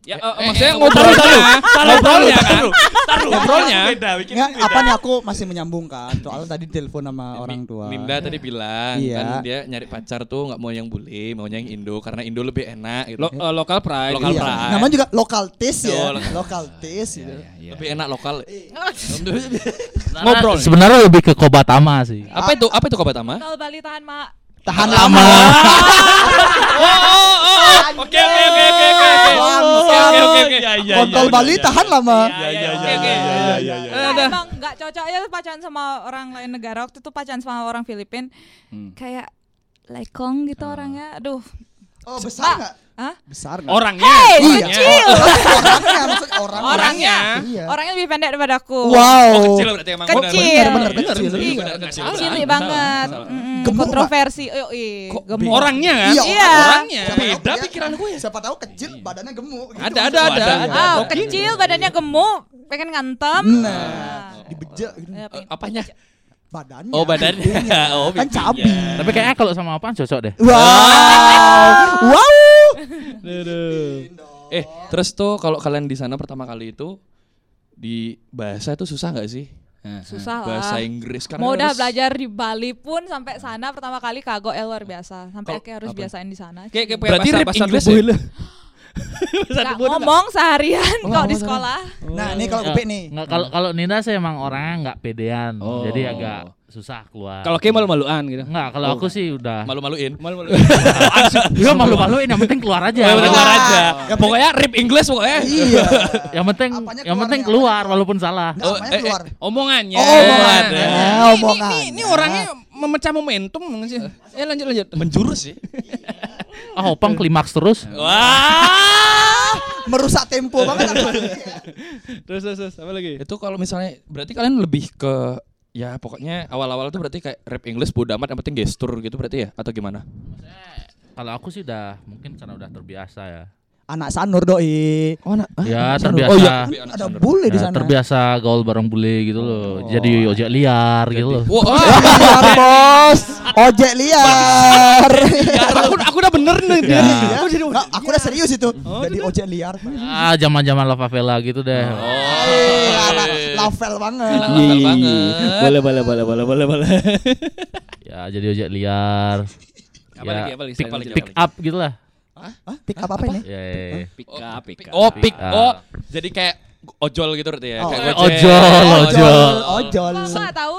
S2: ya eh, eh,
S3: Eh,
S2: maksudnya
S3: eh,
S2: ngobrolnya
S3: ya,
S2: ngobrolnya kan
S3: ngobrolnya
S4: Nggak, apa nih aku masih menyambung kan? Soalnya tadi telepon sama orang tua.
S3: Linda tadi bilang
S4: Iya.
S3: kan dia nyari pacar tuh nggak mau yang bule, maunya yang Indo karena Indo lebih enak gitu.
S2: Lo- eh, lokal pride
S3: Lokal
S4: Iya.
S2: Iya.
S3: pride.
S4: Namanya juga lokal taste
S3: Oh,
S4: ya.
S3: lokal.
S4: Lokal taste gitu.
S3: lebih enak lokal.
S5: Ngobrol.
S3: ya.
S5: Sebenarnya lebih ke Kobatama sih.
S3: apa itu? Apa itu Kobatama?
S6: Kalau Bali tahan mak.
S4: Tahan lama.
S3: Oke oke oke oke oke.
S4: Kontol Bali tahan lama.
S2: oke Eh, oke
S3: iya iya.
S6: Nah, emang nggak cocok ya pacaran sama orang lain negara. Waktu itu pacaran sama orang Filipina, kayak lekong gitu orangnya. Aduh.
S4: Oh, besar enggak?
S6: Hah?
S4: Besar enggak?
S2: orangnya
S4: Iya.
S6: Kecil.
S4: Orangnya maksud orang.
S6: Orangnya.
S4: Iya.
S6: Orangnya lebih pendek daripada aku.
S4: Wow.
S3: Oh, kecil berarti emang
S6: Kecil.
S4: Bener, bener,
S3: Iya,
S4: kecil.
S3: bener,
S4: Iya.
S3: bener, kecil.
S6: Cilik banget. Mm,
S4: Gemuk, Pak.
S6: kontroversi. Oh, iya. Gemuk.
S2: orangnya kan
S4: Iya.
S6: Iya.
S2: orangnya
S4: Siapa tahu
S3: Beda
S4: dia-
S3: pikiran gue ya.
S4: Siapa tahu kecil badannya gemuk. gitu.
S2: ada ada ada
S3: Ada, ada.
S6: Wow, kecil badannya gemuk, pengen ngantem.
S4: iya, Nah, dibejek gitu.
S6: Ya, pengen-
S3: Apanya?
S4: Badannya.
S3: Oh badannya. Oh
S4: Kan cabi.
S5: Tapi kayaknya kalau sama apaan cocok deh.
S4: Wow. Wow.
S3: Eh, terus tuh kalau kalian di sana pertama kali itu di bahasa itu susah nggak sih?
S6: susah lah.
S3: Bahasa Inggris karena
S6: Ah, Mau udah
S3: harus-
S6: belajar di Bali pun sampai sana pertama kali kagok ya luar biasa. Sampai kayak harus biasain di sana.
S2: kayak kayak
S3: Berarti
S2: bahasa-
S3: rap
S2: bahasa
S3: Inggris
S2: tubuh
S3: ya?
S2: lu. Bahasa
S6: Nggak
S2: tubuh lu
S6: ngomong seharian kalau di
S3: ngomong
S6: sekolah.
S4: Nah, ini kalau
S5: Iya.
S4: kupik nih.
S5: Nggak, kalau kalau Nina sih emang orangnya nggak pedean,
S2: Oh.
S5: jadi agak susah keluar.
S2: Kalau kayak malu-maluan gitu.
S5: nggak, kalau aku sih udah.
S3: malu-maluin.
S2: Malu-maluan.
S5: Gue malu-maluin, yang penting keluar aja.
S2: Oh,
S3: Ya, bener,
S4: Wah.
S3: keluar aja.
S4: Ya,
S3: Pokoknya rip Inggris pokoknya.
S4: Iya.
S5: Yang penting,
S4: Apanya
S5: yang
S4: keluar
S5: penting
S4: nih,
S5: keluar walaupun salah.
S2: Oh,
S4: Nah, apanya
S3: eh,
S4: keluar.
S2: Omongannya.
S4: Oh, omongannya.
S2: Ini- ini-
S4: Omongannya.
S2: Ini, ini orangnya memecah momentum nggak sih. Eh lanjut lanjut.
S3: Menjurus sih.
S5: Ah, opang klimaks terus.
S3: Oh. Wah.
S4: Merusak tempo banget. aku.
S2: Terus terus, terus apa lagi?
S3: Itu kalau misalnya berarti kalian lebih ke Ya pokoknya awal-awal tuh berarti kayak rap English bodo amat yang penting gestur gitu berarti ya atau gimana?
S5: Kalau aku sih udah mungkin karena udah terbiasa ya.
S4: Anak Sanur doi.
S3: Oh, nah, Oh iya,
S5: Ya, terbiasa.
S3: anak
S4: Ada
S3: Sanur.
S4: bule di
S5: Ya,
S4: sana.
S5: terbiasa gaul bareng bule gitu loh. Jadi ojek liar gitu loh.
S3: Wah, ah,
S4: Liar, Iya, bos. Ojek liar.
S2: aku aku udah bener nih
S3: Iya.
S2: dia.
S5: Ya.
S2: Aku jadi
S4: Nah, aku udah serius itu. Jadi ojek liar.
S5: Ah, zaman-zaman La Favela gitu deh.
S4: Eh, ala- Lavel banget.
S3: Iya. Nakal banget.
S2: Boleh boleh boleh boleh boleh boleh.
S5: Ya, jadi ojek liar. Ya,
S2: Apa lagi, apa lagi,
S5: pick,
S2: apa lagi,
S5: pick
S2: apa
S5: up gitu lah.
S4: Hah? Pick up apa
S3: Iya,
S4: ini?
S5: Ya, ya, ya.
S2: Pick up, pick up.
S3: Oh, pick.
S5: Ah.
S3: Oh, jadi kayak ojol gitu berarti ya.
S4: Oh.
S3: Kayak
S5: Eh,
S3: gojek.
S5: ojol, ojol.
S4: Ojol.
S6: Kok nggak tahu?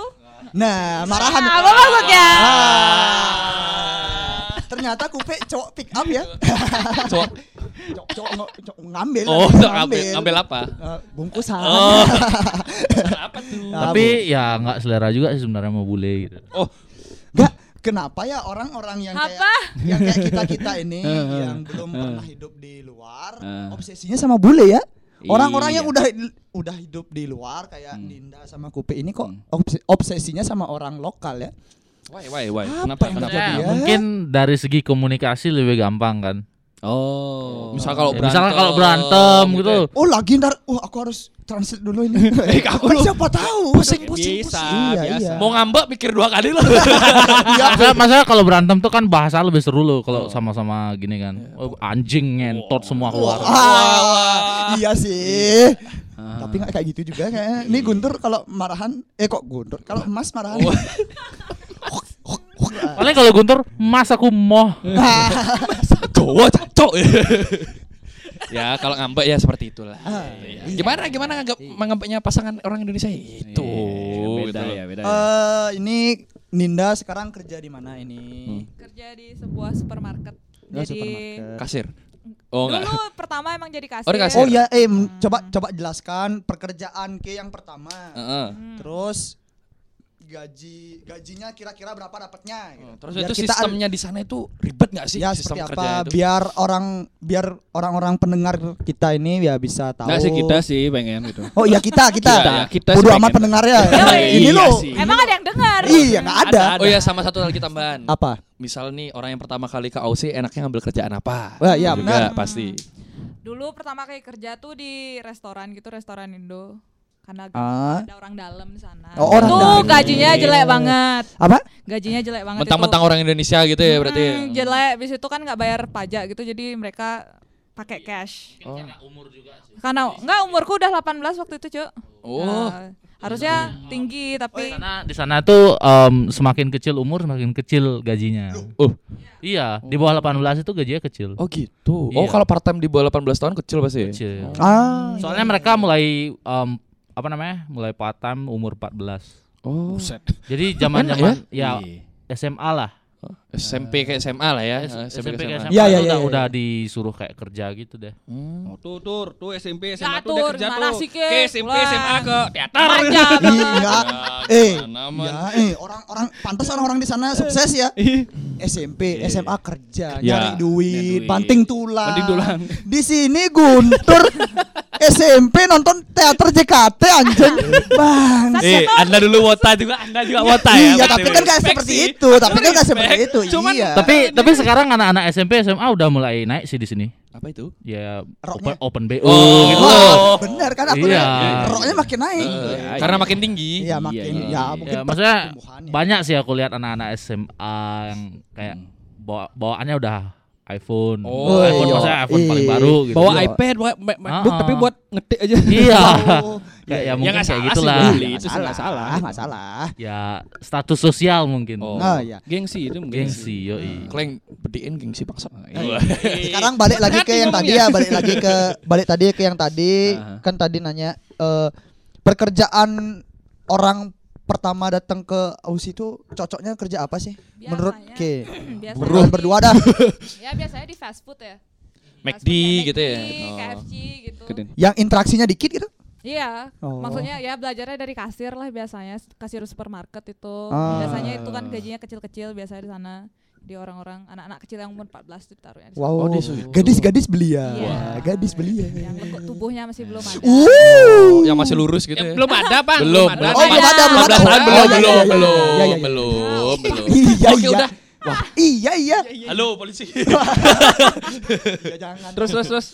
S4: Nah, marahan. Ah.
S6: Apa maksudnya?
S4: Ternyata kupe cowok pick up ya.
S3: Cowok.
S4: Cowok cowok ngo- cowok ngambil.
S3: Oh,
S4: ngambil.
S3: ngambil, ngambil apa? Oh.
S4: Eh, bungkusan.
S3: apa tuh?
S4: Nah,
S5: Tapi ya nggak selera juga sih sebenarnya mau bule gitu.
S3: Oh,
S4: Gak, kenapa ya orang-orang yang kayak
S6: Apa?
S4: yang kayak kita-kita ini yang belum pernah hidup di luar, obsesinya sama bule ya? Orang-orang yang udah udah hidup di luar kayak Dinda sama Kupe ini kok obs- obsesinya sama orang lokal ya?
S3: why why why? Kenapa?
S4: Apa yang
S3: Kenapa?
S4: terjadi?
S5: Ya,
S4: Ya.
S5: mungkin dari segi komunikasi lebih gampang kan.
S2: Oh.
S3: Misal kalau
S5: Ya,
S3: berantem.
S5: misalkan kalau berantem gitu.
S4: Oh lagi ntar, wah aku harus translate dulu ini. Kan siapa tahu? Pusing, pusing,
S2: Bisa,
S4: pusing.
S2: biasa.
S4: Iya,
S3: Mau ngambek mikir dua kali loh.
S5: Masalah, masalah Ah, kalau berantem tuh kan bahasa lebih seru
S3: Oh.
S5: loh kalau sama-sama gini kan.
S3: Iya.
S5: Oh, anjing ngentot semua keluar.
S4: Wah, iya sih. Tapi nggak kayak gitu juga kayaknya. Ini Guntur kalau marahan, eh kok Guntur? Kalau Mas marahan.
S5: Paling kalau Guntur, mas aku moh.
S3: Cowok cocok. ya kalau ngambek ya seperti itulah.
S4: Ah,
S3: Iya. Gimana gimana nganggap menganggapnya pasangan orang Indonesia itu? gitu
S2: beda
S3: loh.
S2: ya, beda. ya.
S4: Eh, ini Ninda sekarang kerja di mana ini?
S6: Kerja di sebuah supermarket.
S4: Oh,
S6: Jadi
S4: supermarket.
S3: Kasir. Oh enggak.
S6: dulu pertama emang jadi kasir.
S3: Oh, di kasir.
S4: Oh ya, eh m- coba coba jelaskan pekerjaan ke yang pertama.
S3: Heeh.
S4: Terus gaji gajinya kira-kira berapa dapatnya? gitu.
S3: Terus
S4: Biar
S3: itu
S4: kita ad-
S3: sistemnya di sana itu ribet nggak sih?
S4: ya
S3: sistem
S4: seperti
S3: kerjanya
S4: apa?
S3: itu?
S4: Biar orang biar orang-orang pendengar kita ini ya bisa tahu.
S2: Enggak Nah, sih kita sih pengen gitu.
S4: Oh iya kita kita.
S2: Kita, kita sih
S4: Bodo amat
S2: pengen.
S4: pendengarnya.
S2: Iya
S4: ini lo.
S2: sih.
S6: Emang ada yang dengar?
S4: Iya nggak ada.
S3: Oh ya sama satu lagi tambahan.
S4: Apa?
S3: Misal nih orang yang pertama kali ke Aussie enaknya ngambil kerjaan apa?
S4: Wah, iya,
S3: Itu
S4: benar.
S3: juga pasti.
S6: Dulu pertama kali kerja tuh di restoran gitu, restoran Indo. Karena
S4: Ah.
S6: ada orang dalam di sana.
S4: Oh, orang
S6: tuh
S4: dalam.
S6: gajinya jelek banget.
S4: Apa?
S6: Gajinya jelek banget itu.
S3: Iya. Mentang-mentang orang Indonesia gitu ya berarti.
S6: Hmm, jelek bis itu kan nggak bayar pajak gitu jadi mereka pakai cash
S3: Oh.
S6: karena nggak umurku udah 18 waktu itu cuk
S3: Oh.
S6: Nah, harusnya tinggi tapi
S5: Karena di sana tuh em, semakin kecil umur semakin kecil gajinya.
S3: Oh.
S5: Iya, di bawah 18 itu gajinya kecil.
S3: Oh gitu. Oh
S5: Iya.
S3: kalau part time di bawah 18 tahun kecil pasti. ya?
S5: Kecil.
S4: Ah.
S5: Soalnya mereka mulai em, apa namanya? Mulai part time umur 14.
S3: Oh.
S5: Jadi zaman-zaman
S3: iya?
S5: ya, SMA lah.
S3: SMP ke SMA lah ya.
S5: S- SMP
S3: ke
S5: ke SMA
S4: Iya, iya,
S5: tuh
S4: iya,
S5: udah,
S4: iya.
S5: udah disuruh kayak kerja gitu deh.
S2: Oh, Tuh, tur, tuh SMP,
S6: Ya,
S2: SMA tuh udah
S6: tur,
S2: kerja
S6: gimana
S2: tuh.
S6: sih, Ke?
S2: Ke SMP,
S6: Pulang.
S2: SMA ke teater.
S6: Manja
S3: Iya.
S4: Ih,
S6: banget.
S4: enggak. Iya. Eh,
S3: gimana, Man?
S4: ya, eh orang-orang pantas orang-orang di sana sukses ya. SMP, SMA kerja, nyari
S3: Ya,
S4: duit,
S2: nyari duit.
S4: banting tulang.
S2: Banting tulang.
S4: Di sini Guntur SMP nonton teater JKT anjing. Bang.
S3: Eh, Anda dulu wota juga, Anda juga wota ya.
S4: Iya,
S3: berarti.
S4: tapi kan kayak
S3: Respect
S4: seperti
S3: sih.
S4: itu, tapi kan kayak seperti itu.
S3: Cuman-
S4: Iya.
S5: Tapi tapi sekarang anak-anak SMP SMA udah mulai naik sih di sini.
S3: Apa itu?
S5: Ya
S4: Roknya.
S5: open, open BO
S3: Oh, Eh.
S5: gitu.
S4: Wah, benar kan aku
S5: Iya.
S4: lihat roknya makin naik.
S3: Karena makin tinggi.
S4: Iya, makin
S2: iya,
S4: ya
S2: iya.
S4: mungkin
S5: Ya, maksudnya
S4: pertumbuhan ya.
S5: banyak sih aku lihat anak-anak SMA yang kayak bawa, bawaannya udah iPhone.
S3: Hmm. Oh,
S5: iPhone
S3: iya.
S5: maksudnya iPhone paling
S4: Iya.
S5: baru gitu.
S2: Bawa
S4: Iya.
S2: iPad, bawa ma- MacBook
S5: Ah.
S2: tapi buat ngetik aja.
S5: Iya.
S4: Oh,
S5: kayak ya
S2: Ya,
S5: mungkin
S2: nggak salah
S5: kayak
S2: sih,
S5: gitulah.
S2: Beli,
S4: nggak
S2: itu nggak salah.
S4: nggak salah.
S5: Ya status sosial mungkin.
S3: Oh. Nah.
S4: Nah, ya.
S2: Gengsi itu Iya,
S5: Gengsi, yoi.
S3: Kleng bediin gengsi paksa.
S4: Sekarang balik lagi ke yang tadi ya, balik lagi ke balik tadi ke yang tadi
S2: Aha.
S4: kan tadi nanya eh, pekerjaan orang pertama datang ke Aussie itu cocoknya kerja apa sih? Menurut
S6: Biasanya.
S4: Ke.
S6: biasanya
S4: Berdua
S6: di-
S4: berdua dah.
S6: ya biasanya di fast food ya Fast
S3: McD
S6: food kayak
S3: gitu ya.
S6: McD,
S3: Oh.
S6: KFC gitu
S2: Keren.
S4: yang interaksinya dikit gitu.
S6: iya
S4: Oh.
S6: maksudnya ya belajarnya dari kasir lah biasanya kasir supermarket itu
S4: Ah.
S6: biasanya itu kan gajinya kecil-kecil biasanya di sana di orang-orang anak-anak kecil yang umur 14 itu ditaruhnya di
S4: Wow.
S3: Oh, di situ.
S4: Gadis-gadis belia.
S6: Iya.
S4: Wah, Gadis ya. belia.
S6: yang lekuk tubuhnya masih belum ada.
S4: Uh.
S3: yang masih lurus gitu
S2: Eh,
S3: ya.
S2: belum ada pak
S3: Belum.
S2: ada.
S3: Oh,
S6: belum ada, belum ada.
S3: 14 tahun belum,
S4: Oh, iya,
S3: belum,
S4: iya,
S3: belum,
S4: iya, iya, iya.
S3: belum, belum.
S4: Iya,
S3: Oke,
S4: iya.
S3: udah.
S4: Wah, iya iya.
S3: Halo polisi.
S4: Ya, jangan.
S2: terus terus terus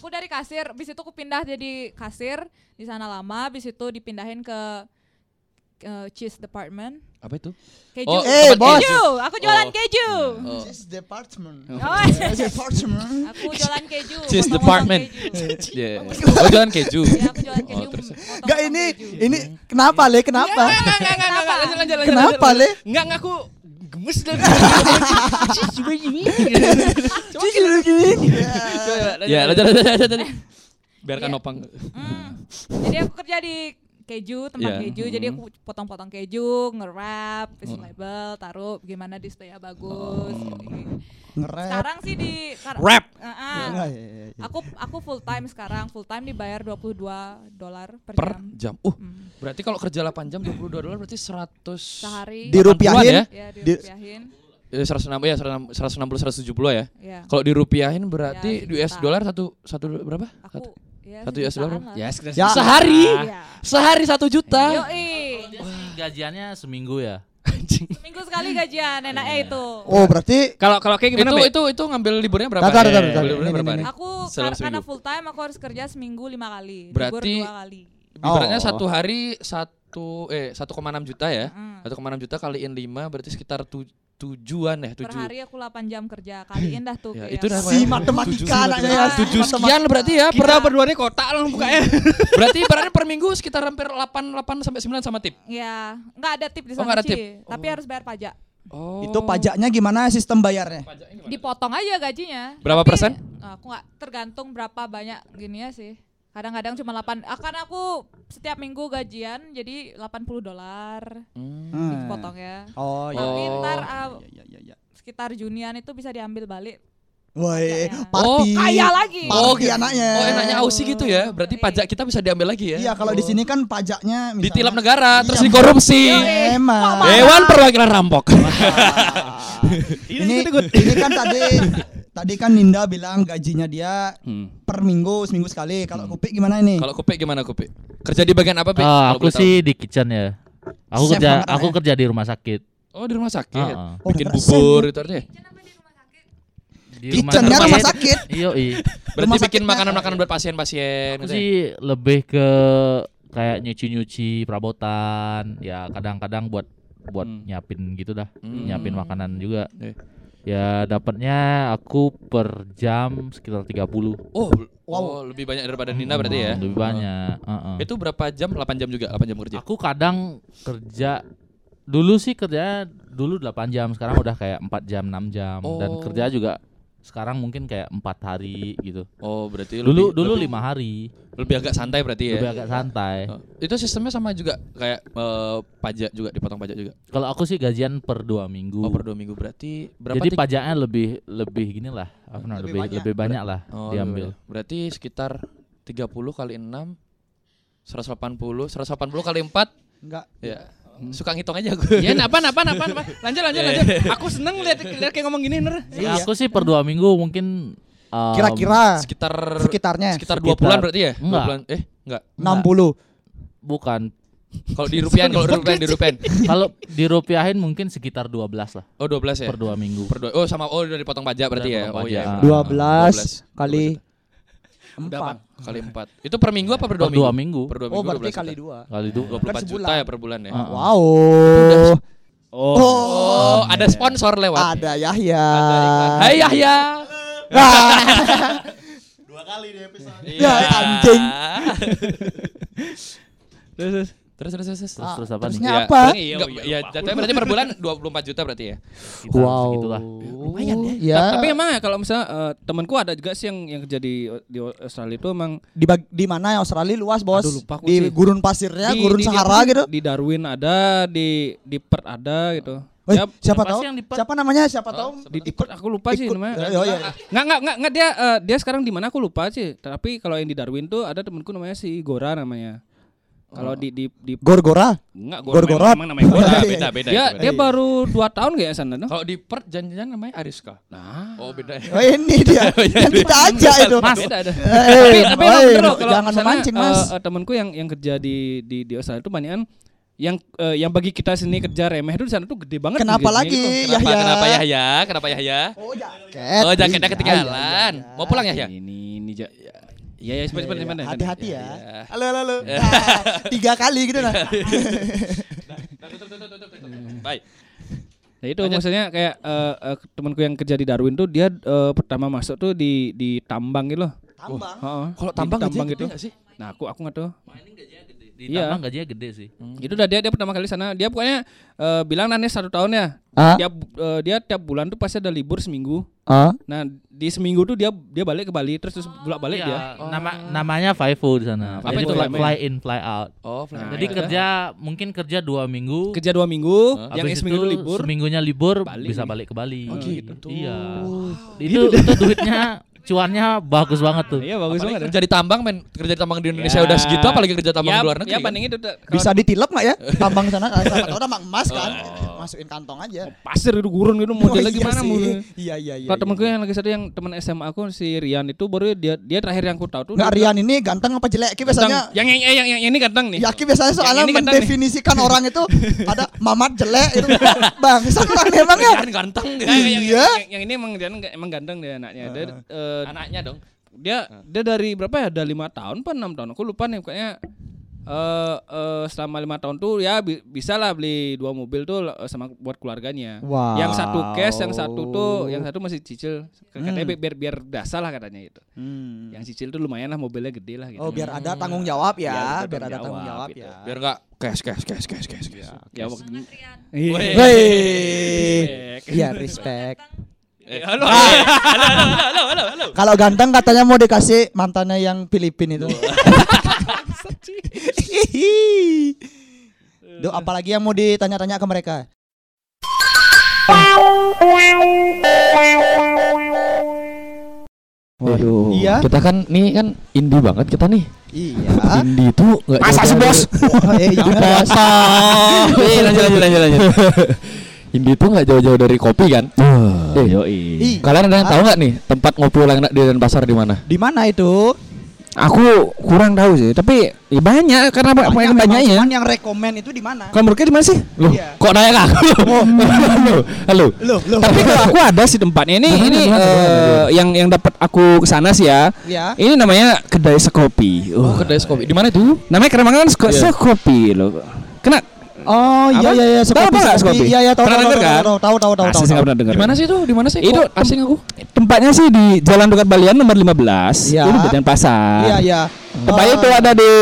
S6: Aku dari kasir, bis itu aku pindah jadi kasir di sana lama, bis itu dipindahin ke eh, cheese department.
S2: apa itu
S6: Keju.
S3: Oh,
S4: Eh,
S3: tempat
S4: bos.
S6: keju, aku jualan
S3: Oh.
S6: keju.
S3: Oh.
S4: This department.
S6: Oh,
S4: department.
S6: aku jualan keju.
S3: Cheese
S6: potong-potong
S3: department.
S6: keju.
S3: Iya. Oh, jangan keju.
S6: Ya, aku jualan keju.
S3: Oh, terus.
S6: potong-potong
S4: Enggak ini
S6: keju.
S4: ini kenapa Le? Kenapa?
S6: Iya.
S2: Enggak, enggak, enggak, enggak, enggak, eh, lanjut, lanjut,
S4: Kenapa,
S2: lanjut.
S4: Le?
S2: Enggak, enggak, aku gemes dan gitu.
S3: Ya, lanjut, lanjut, lanjut, lanjut. Biarkan
S6: Iya.
S3: opang.
S6: Mm. Jadi aku kerja di keju, tempat
S3: Iya.
S6: keju. Jadi
S3: Mm.
S6: aku potong-potong keju, nge-wrap, kasih
S3: Hmm.
S6: label, taruh gimana displaynya bagus. gitu.
S4: Ngerap.
S6: Sekarang sih di kar-
S3: Oh. Wrap.
S6: Heeh.
S4: Enggak, iya, iya, iya.
S6: Aku aku full time sekarang, full time dibayar 22 dolar per,
S3: Per
S6: jam.
S3: jam. Uh,
S6: Mm.
S3: berarti kalau kerja 8 jam 22 dolar berarti 100
S6: Sehari.
S4: Dirupiahin?
S3: ya.
S6: Ya,
S4: Di-
S6: dirupiahin.
S3: Eh, 160 ya, 160 170 ya.
S6: Ya.
S3: Kalau dirupiahin berarti
S6: Ya,
S3: di US
S6: sejuta.
S3: dolar satu satu berapa? Satu-
S6: Aku ya,
S3: satu US dollar
S6: sejutaan lah.
S2: Ya, sekedar
S4: Ya.
S2: susah.
S3: Sehari.
S6: Iya.
S3: Sehari satu juta.
S6: Yoi.
S5: Gajiannya seminggu ya.
S6: Minggu sekali gajian, enaknya itu.
S4: Oh, berarti
S2: Kalau kalau kayak gimana,
S3: Itu
S2: Be?
S3: itu itu ngambil liburnya berapa?
S4: Tatar,
S3: hari?
S4: tatar, tatar.
S3: Liburnya
S4: Ini,
S3: berapa?
S4: ini,
S3: hari?
S6: Aku
S3: Sedalam
S6: kar- karena
S3: seminggu.
S6: full time aku harus kerja seminggu lima kali,
S3: Berarti-
S6: libur dua kali.
S3: Ibaratnya
S4: Oh.
S3: satu hari satu eh 1,6 juta ya.
S6: Mm.
S3: 1,6 juta kaliin 5 berarti sekitar tu, tujuan ya,
S6: Per
S3: tujuh.
S6: hari aku 8 jam kerja, kaliin dah tuh.
S3: Ya,
S6: kayak
S3: itu dah
S6: apa.
S4: si matematika anaknya ya.
S6: Nah,
S4: si
S3: Tujuh
S4: matematika.
S3: sekian berarti ya per Iya.
S2: Kita berdua nih kotak lah bukanya.
S3: berarti ibaratnya per minggu sekitar hampir 8 8 sampai 9 sama tip.
S6: Ya, nggak ada tip di
S3: Oh,
S6: sana
S3: nggak ada
S6: Ci,
S3: tip.
S6: tapi harus bayar pajak.
S3: Oh.
S4: Itu pajaknya gimana sistem bayarnya?
S6: Dipotong aja gajinya.
S3: Berapa
S6: Tapi, eh,
S3: persen?
S6: Aku nggak tergantung berapa banyak gini ya sih. Kadang-kadang cuma 8 akan aku setiap minggu gajian jadi 80 dolar
S4: Hmm.
S6: dipotong ya.
S4: Oh iya.
S6: Tapi
S3: Oh.
S6: ntar ah,
S4: Iya, iya, iya.
S6: sekitar Junian itu bisa diambil balik.
S4: Woi,
S6: Pajaknya.
S4: party.
S6: Kaya lagi.
S4: Party
S3: Oh, gitu.
S4: anaknya.
S3: Oh, enaknya Aussie gitu ya. Berarti
S6: Iya.
S3: pajak kita bisa diambil lagi ya.
S4: Iya, kalau di sini kan pajaknya misalnya-
S3: ditilap negara terus
S4: Iya.
S3: dikorupsi.
S4: Emang. Iya,
S3: Dewan Perwakilan Rampok.
S4: Ah. ini ini kan tadi tadi kan Ninda bilang gajinya dia per minggu seminggu sekali. Kalau Kupik gimana ini?
S3: Hmm. Kalau Kupik gimana Kupik? Kerja di bagian apa, Pik?
S5: Ah,
S3: Kalau
S5: aku
S3: boleh
S5: sih di kitchen ya. Aku
S4: Chef
S5: kerja
S4: banget
S5: aku
S4: ya.
S5: kerja di rumah sakit.
S3: tahu. Oh, di rumah sakit.
S5: Ah, ah.
S4: Oh,
S3: Bikin
S4: berasa
S3: bubur itu artinya.
S5: Di
S4: Kitchennya rumah sakit.
S5: Iya, iya.
S3: Berarti bikin
S4: sakitnya.
S3: makanan-makanan buat pasien-pasien
S5: Aku
S3: gitu ya?
S5: sih lebih ke kayak nyuci-nyuci perabotan, ya kadang-kadang buat buat
S3: Hmm.
S5: nyiapin gitu dah,
S3: Hmm.
S5: nyiapin makanan juga.
S3: Eh.
S5: Ya dapatnya aku per jam sekitar 30.
S3: Oh,
S4: Wow.
S3: oh, lebih banyak daripada Nina berarti ya.
S5: Lebih banyak. heeh.
S3: Oh. Itu berapa jam? 8 jam juga, 8 jam kerja.
S5: Aku kadang kerja dulu sih kerja dulu 8 jam, sekarang udah kayak 4 jam, 6 jam dan
S3: Oh.
S5: kerja juga sekarang mungkin kayak empat hari gitu.
S3: Oh, berarti
S5: Dulu
S3: lebih-
S5: dulu
S3: lebih,
S5: lima hari,
S3: lebih agak santai berarti ya.
S5: lebih agak santai.
S3: Oh. Itu sistemnya sama juga kayak eh, pajak juga dipotong pajak juga.
S5: Kalau aku sih gajian per dua minggu.
S3: Oh, per 2 minggu berarti berapa
S5: Jadi
S3: tik-
S5: pajaknya lebih lebih gini lah, apa namanya,
S4: Lebih
S5: lebih
S4: banyak.
S5: lebih banyak lah
S3: Oh, lebih
S5: diambil.
S3: banyak. Berarti sekitar 30 kali 6 180, 180 kali 4
S4: Enggak.
S3: ya.
S5: Hmm.
S3: Suka ngitung aja gue.
S2: Ya,
S5: Iya.
S2: napa, napa, napa, napa. Lanjut, lanjut, lanjut. Aku seneng lihat lihat kayak ngomong gini, Nur.
S5: Ya,
S3: Iya.
S5: Aku sih per dua minggu mungkin um,
S4: Kira-kira
S3: Sekitar
S4: sekitarnya
S3: sekitar 2
S5: Sekitar-
S3: bulan berarti ya? Dua
S5: Enggak.
S3: bulan. Eh, enggak.
S4: 60.
S5: bukan
S3: Kalau di rupiah, kalau di rupiah, di rupiah.
S5: kalau dirupiahin mungkin sekitar 12 lah
S3: Oh, 12 ya?
S5: per dua minggu.
S3: Per dua- oh sama oh udah dipotong pajak berarti
S5: Udah
S3: ya oh
S5: dipotong
S3: iya
S5: pajak.
S4: 12 kali 4.
S3: kali empat itu per minggu apa per dua
S5: per
S3: minggu
S5: dua minggu.
S3: per dua
S4: Oh,
S3: minggu
S4: berarti
S3: 12
S4: kali
S3: juta.
S4: 2.
S5: Kali itu
S3: dua puluh empat
S4: Kan
S3: juta
S4: sebulan.
S3: ya per bulan ya
S5: Ah.
S4: Wow.
S2: Oh.
S4: Oh,
S3: oh ada sponsor lewat
S4: ada Yahya.
S3: Hai Yahya Iya.
S4: Ya, anjing.
S2: Terus, terus.
S3: terus terus terus terus
S5: Terus terus apa nih?
S4: Terusnya apa?
S3: Iya, ya, jatuhnya berarti per bulan 24 juta berarti ya.
S5: Sekitar segitulah.
S4: Lumayan ya.
S2: Ta- Tapi emang ya kalau misalnya eh, temanku ada juga sih yang yang kerja di di Australia itu emang
S4: di bag- di mana ya Australia luas, Bos?
S2: Aduh, lupa aku
S4: di
S2: sih.
S4: gurun pasirnya,
S2: di,
S4: gurun
S2: di- di-
S4: Sahara
S2: di-
S4: gitu.
S2: Di Darwin ada, di di Perth ada gitu.
S4: Weh,
S2: Ya,
S4: siapa
S5: Siapa
S4: tahu?
S5: sih yang di Perth?
S4: Siapa namanya? Siapa tahu?
S2: di, di Perth aku lupa sih
S4: Ikut-
S2: namanya.
S4: Oh, iya, iya.
S2: Nggak, nggak, nggak, nggak dia eh, dia sekarang di mana aku lupa sih. Tapi kalau yang di Darwin tuh ada temanku namanya si Gora namanya.
S4: Oh.
S2: Kalau di di di
S4: Gorgora.
S2: enggak
S4: Gorgorat.
S2: Emang, emang namanya gor.
S3: Beda, beda,
S2: dia
S3: beda. itu beda.
S4: Iya,
S2: dia baru 2 tahun kayaknya sana no?
S3: Kalau di Perth janjian namanya Ariska.
S2: Nah.
S3: Oh, beda ya.
S4: Oh, ini dia. yang kita ajak itu.
S2: Mas. Beda ada. tapi
S4: Eh,
S2: tapi
S4: oi,
S2: emang bener loh, kalau
S4: jangan
S2: misalnya,
S4: memancing,
S2: eh,
S4: Mas.
S2: eh, temanku yang yang kerja di di di Australia itu banyakan yang eh, yang bagi kita sini kerja remeh itu di sana tuh gede banget.
S4: Kenapa
S2: gajinya
S4: lagi?
S2: gitu.
S3: Kenapa
S4: Yahya.
S3: kenapa Yahya? Kenapa Yahya?
S4: Oh, jaket.
S3: Oh, jaketnya
S4: Iya,
S3: ketinggalan.
S4: iya, iya.
S3: Mau pulang ya, Yahya?
S2: Ini ini ja. Iya ya, cepat cepat cepat. cepat.
S4: Hati-hati ya.
S3: Iya.
S4: Halo, halo, halo. Nah, tiga kali gitu nah.
S3: Baik.
S2: Ya itu maksudnya kayak eh, eh, temanku yang kerja di Darwin tuh dia eh, pertama masuk tuh di di tambang gitu loh.
S4: Tambang.
S2: Heeh.
S3: Kalau
S2: Di
S3: tambang
S2: tambang
S3: gajinya
S2: gitu.
S3: gede nggak Iya sih?
S2: Nah, aku aku nggak tahu.
S5: Di
S2: Iya.
S5: tambang gajinya gede sih.
S4: Hmm.
S2: Itu udah dia dia pertama kali sana. Dia pokoknya eh, bilang nanti satu tahun ya.
S4: Ah.
S2: Tiap eh, dia tiap bulan tuh pasti ada libur seminggu.
S4: Ah.
S2: Nah, di seminggu tuh dia dia balik ke Bali terus terus bolak balik
S5: Iya,
S2: dia.
S5: Nama namanya Faifu di sana.
S2: Apa
S5: Jadi
S2: itu
S5: fly,
S2: namanya?
S5: fly in fly out.
S3: Oh, fly.
S5: Jadi kerja mungkin kerja dua minggu.
S2: Kerja dua minggu,
S3: Hah?
S2: yang
S5: habis
S2: seminggu
S5: itu
S2: itu libur.
S5: Seminggunya libur
S2: balik
S5: bisa
S2: lagi.
S5: balik ke Bali.
S3: Oh, gitu.
S5: Iya. Itu itu duitnya cuannya bagus banget tuh.
S2: Iya bagus
S3: Apalagi
S2: banget.
S3: kerja di tambang men kerja di tambang di Indonesia udah segitu apalagi kerja tambang
S2: ya,
S3: di luar negeri
S2: Ya
S3: kan?
S2: Iya. bandingin itu tuh, kalau
S4: Bisa ditilep nggak ya? Tambang sana kalau siapa tahu tambang emas kan. Masukin kantong aja.
S2: pasir itu gurun gitu modelnya
S4: Oh, iya
S2: Ah. gimana
S4: sih.
S2: mau.
S4: Iya, iya, iya.
S2: Kalau temen
S4: iya.
S2: gue yang lagi satu yang temen SMA aku si Rian itu baru dia dia terakhir yang aku tahu tuh.
S4: Nggak
S2: dia
S4: Rian ini ganteng apa jelek? Ki biasanya
S2: Yang yang yang, yang, yang ini ganteng nih.
S4: Yaki biasanya
S2: Yang
S4: soalnya
S2: ini ganteng nih.
S4: mendefinisikan orang itu ada mamat jelek itu bangsat orang emang ya.
S3: kan ganteng
S2: Nah, yang, yang,
S4: Iya. Ah,
S2: yang, yang ini emang dia emang ganteng dia anaknya. Dia, eh,
S3: anaknya dong
S2: dia dia dari berapa ya? Dari lima tahun apa enam tahun? Aku lupa nih pokoknya eh eh, selama lima tahun tuh ya bi- bisa lah beli dua mobil tuh eh, sama buat keluarganya.
S4: Wow. Hmm.
S2: Yang satu cash, yang satu tuh yang satu masih cicil. Katanya biar biar, biar dasar lah katanya itu. Yang cicil tuh lumayan lah mobilnya gede lah gitu.
S4: Oh biar
S3: Hmm.
S4: ada tanggung jawab ya,
S2: Biar ada
S4: biar ada tanggung
S2: tanggung jawab
S4: jawab
S2: gitu.
S4: ya.
S3: biar nggak cash cash cash cash cash cash
S2: ya waktu
S3: Weh.
S4: Wih. Iya respect.
S3: Eh, halo halo halo halo halo halo
S4: Kalau ganteng katanya mau dikasih mantannya yang Filipin itu. Hihi. Duh, apalagi yang mau ditanya-tanya ke mereka?
S7: Waduh,
S4: Iya.
S7: kita kan nih kan indie banget kita nih.
S4: Iya.
S7: Indie itu enggak
S4: Masa sih, Bos? Eh, iya.
S7: Eh, lanjut lanjut lanjut lanjut. indie itu enggak jauh-jauh dari kopi kan? Eh,
S4: Ih,
S7: Kalian ada yang tahu nggak nih tempat ngopi paling enak di Denpasar di mana?
S4: Di mana itu?
S7: Aku kurang tahu sih, tapi ya banyak karena apa
S4: Banyak
S7: yang
S4: memang,
S7: banyak ya.
S4: cuman yang rekomend itu di mana?
S7: Kalau menurut di mana sih? Loh,
S4: Iya.
S7: kok nanya ke aku? Halo, halo.
S4: Loh, loh.
S7: Tapi kalau aku ada sih tempatnya
S3: Nah,
S7: ini
S4: Gimana,
S7: ini
S4: gimana,
S7: eh,
S4: gimana?
S7: yang yang dapat aku kesana sih ya.
S4: Ya.
S7: Ini namanya kedai sekopi.
S3: Oh,
S7: Uh.
S3: kedai kopi di mana itu Iya.
S7: Namanya keren banget kan Seko- sekopi loh. Kena
S4: Oh iya
S7: Apa?
S4: iya iya
S7: Tahu apa nggak Skopi?
S4: Iya iya tahu
S7: Pernah
S4: tahu
S7: denger kan?
S4: tahu tahu tahu
S3: Oh,
S4: tahu tahu.
S7: Asli sih nggak
S4: tahu.
S7: pernah dengar.
S3: di mana sih itu di mana sih
S7: Itu
S3: Kok asing aku
S7: Tempatnya sih di Jalan Dekat Balian nomor 15.
S4: Iya.
S7: Itu di Denpasar.
S4: Iya iya.
S7: Tempatnya
S4: Eh,
S7: itu ada di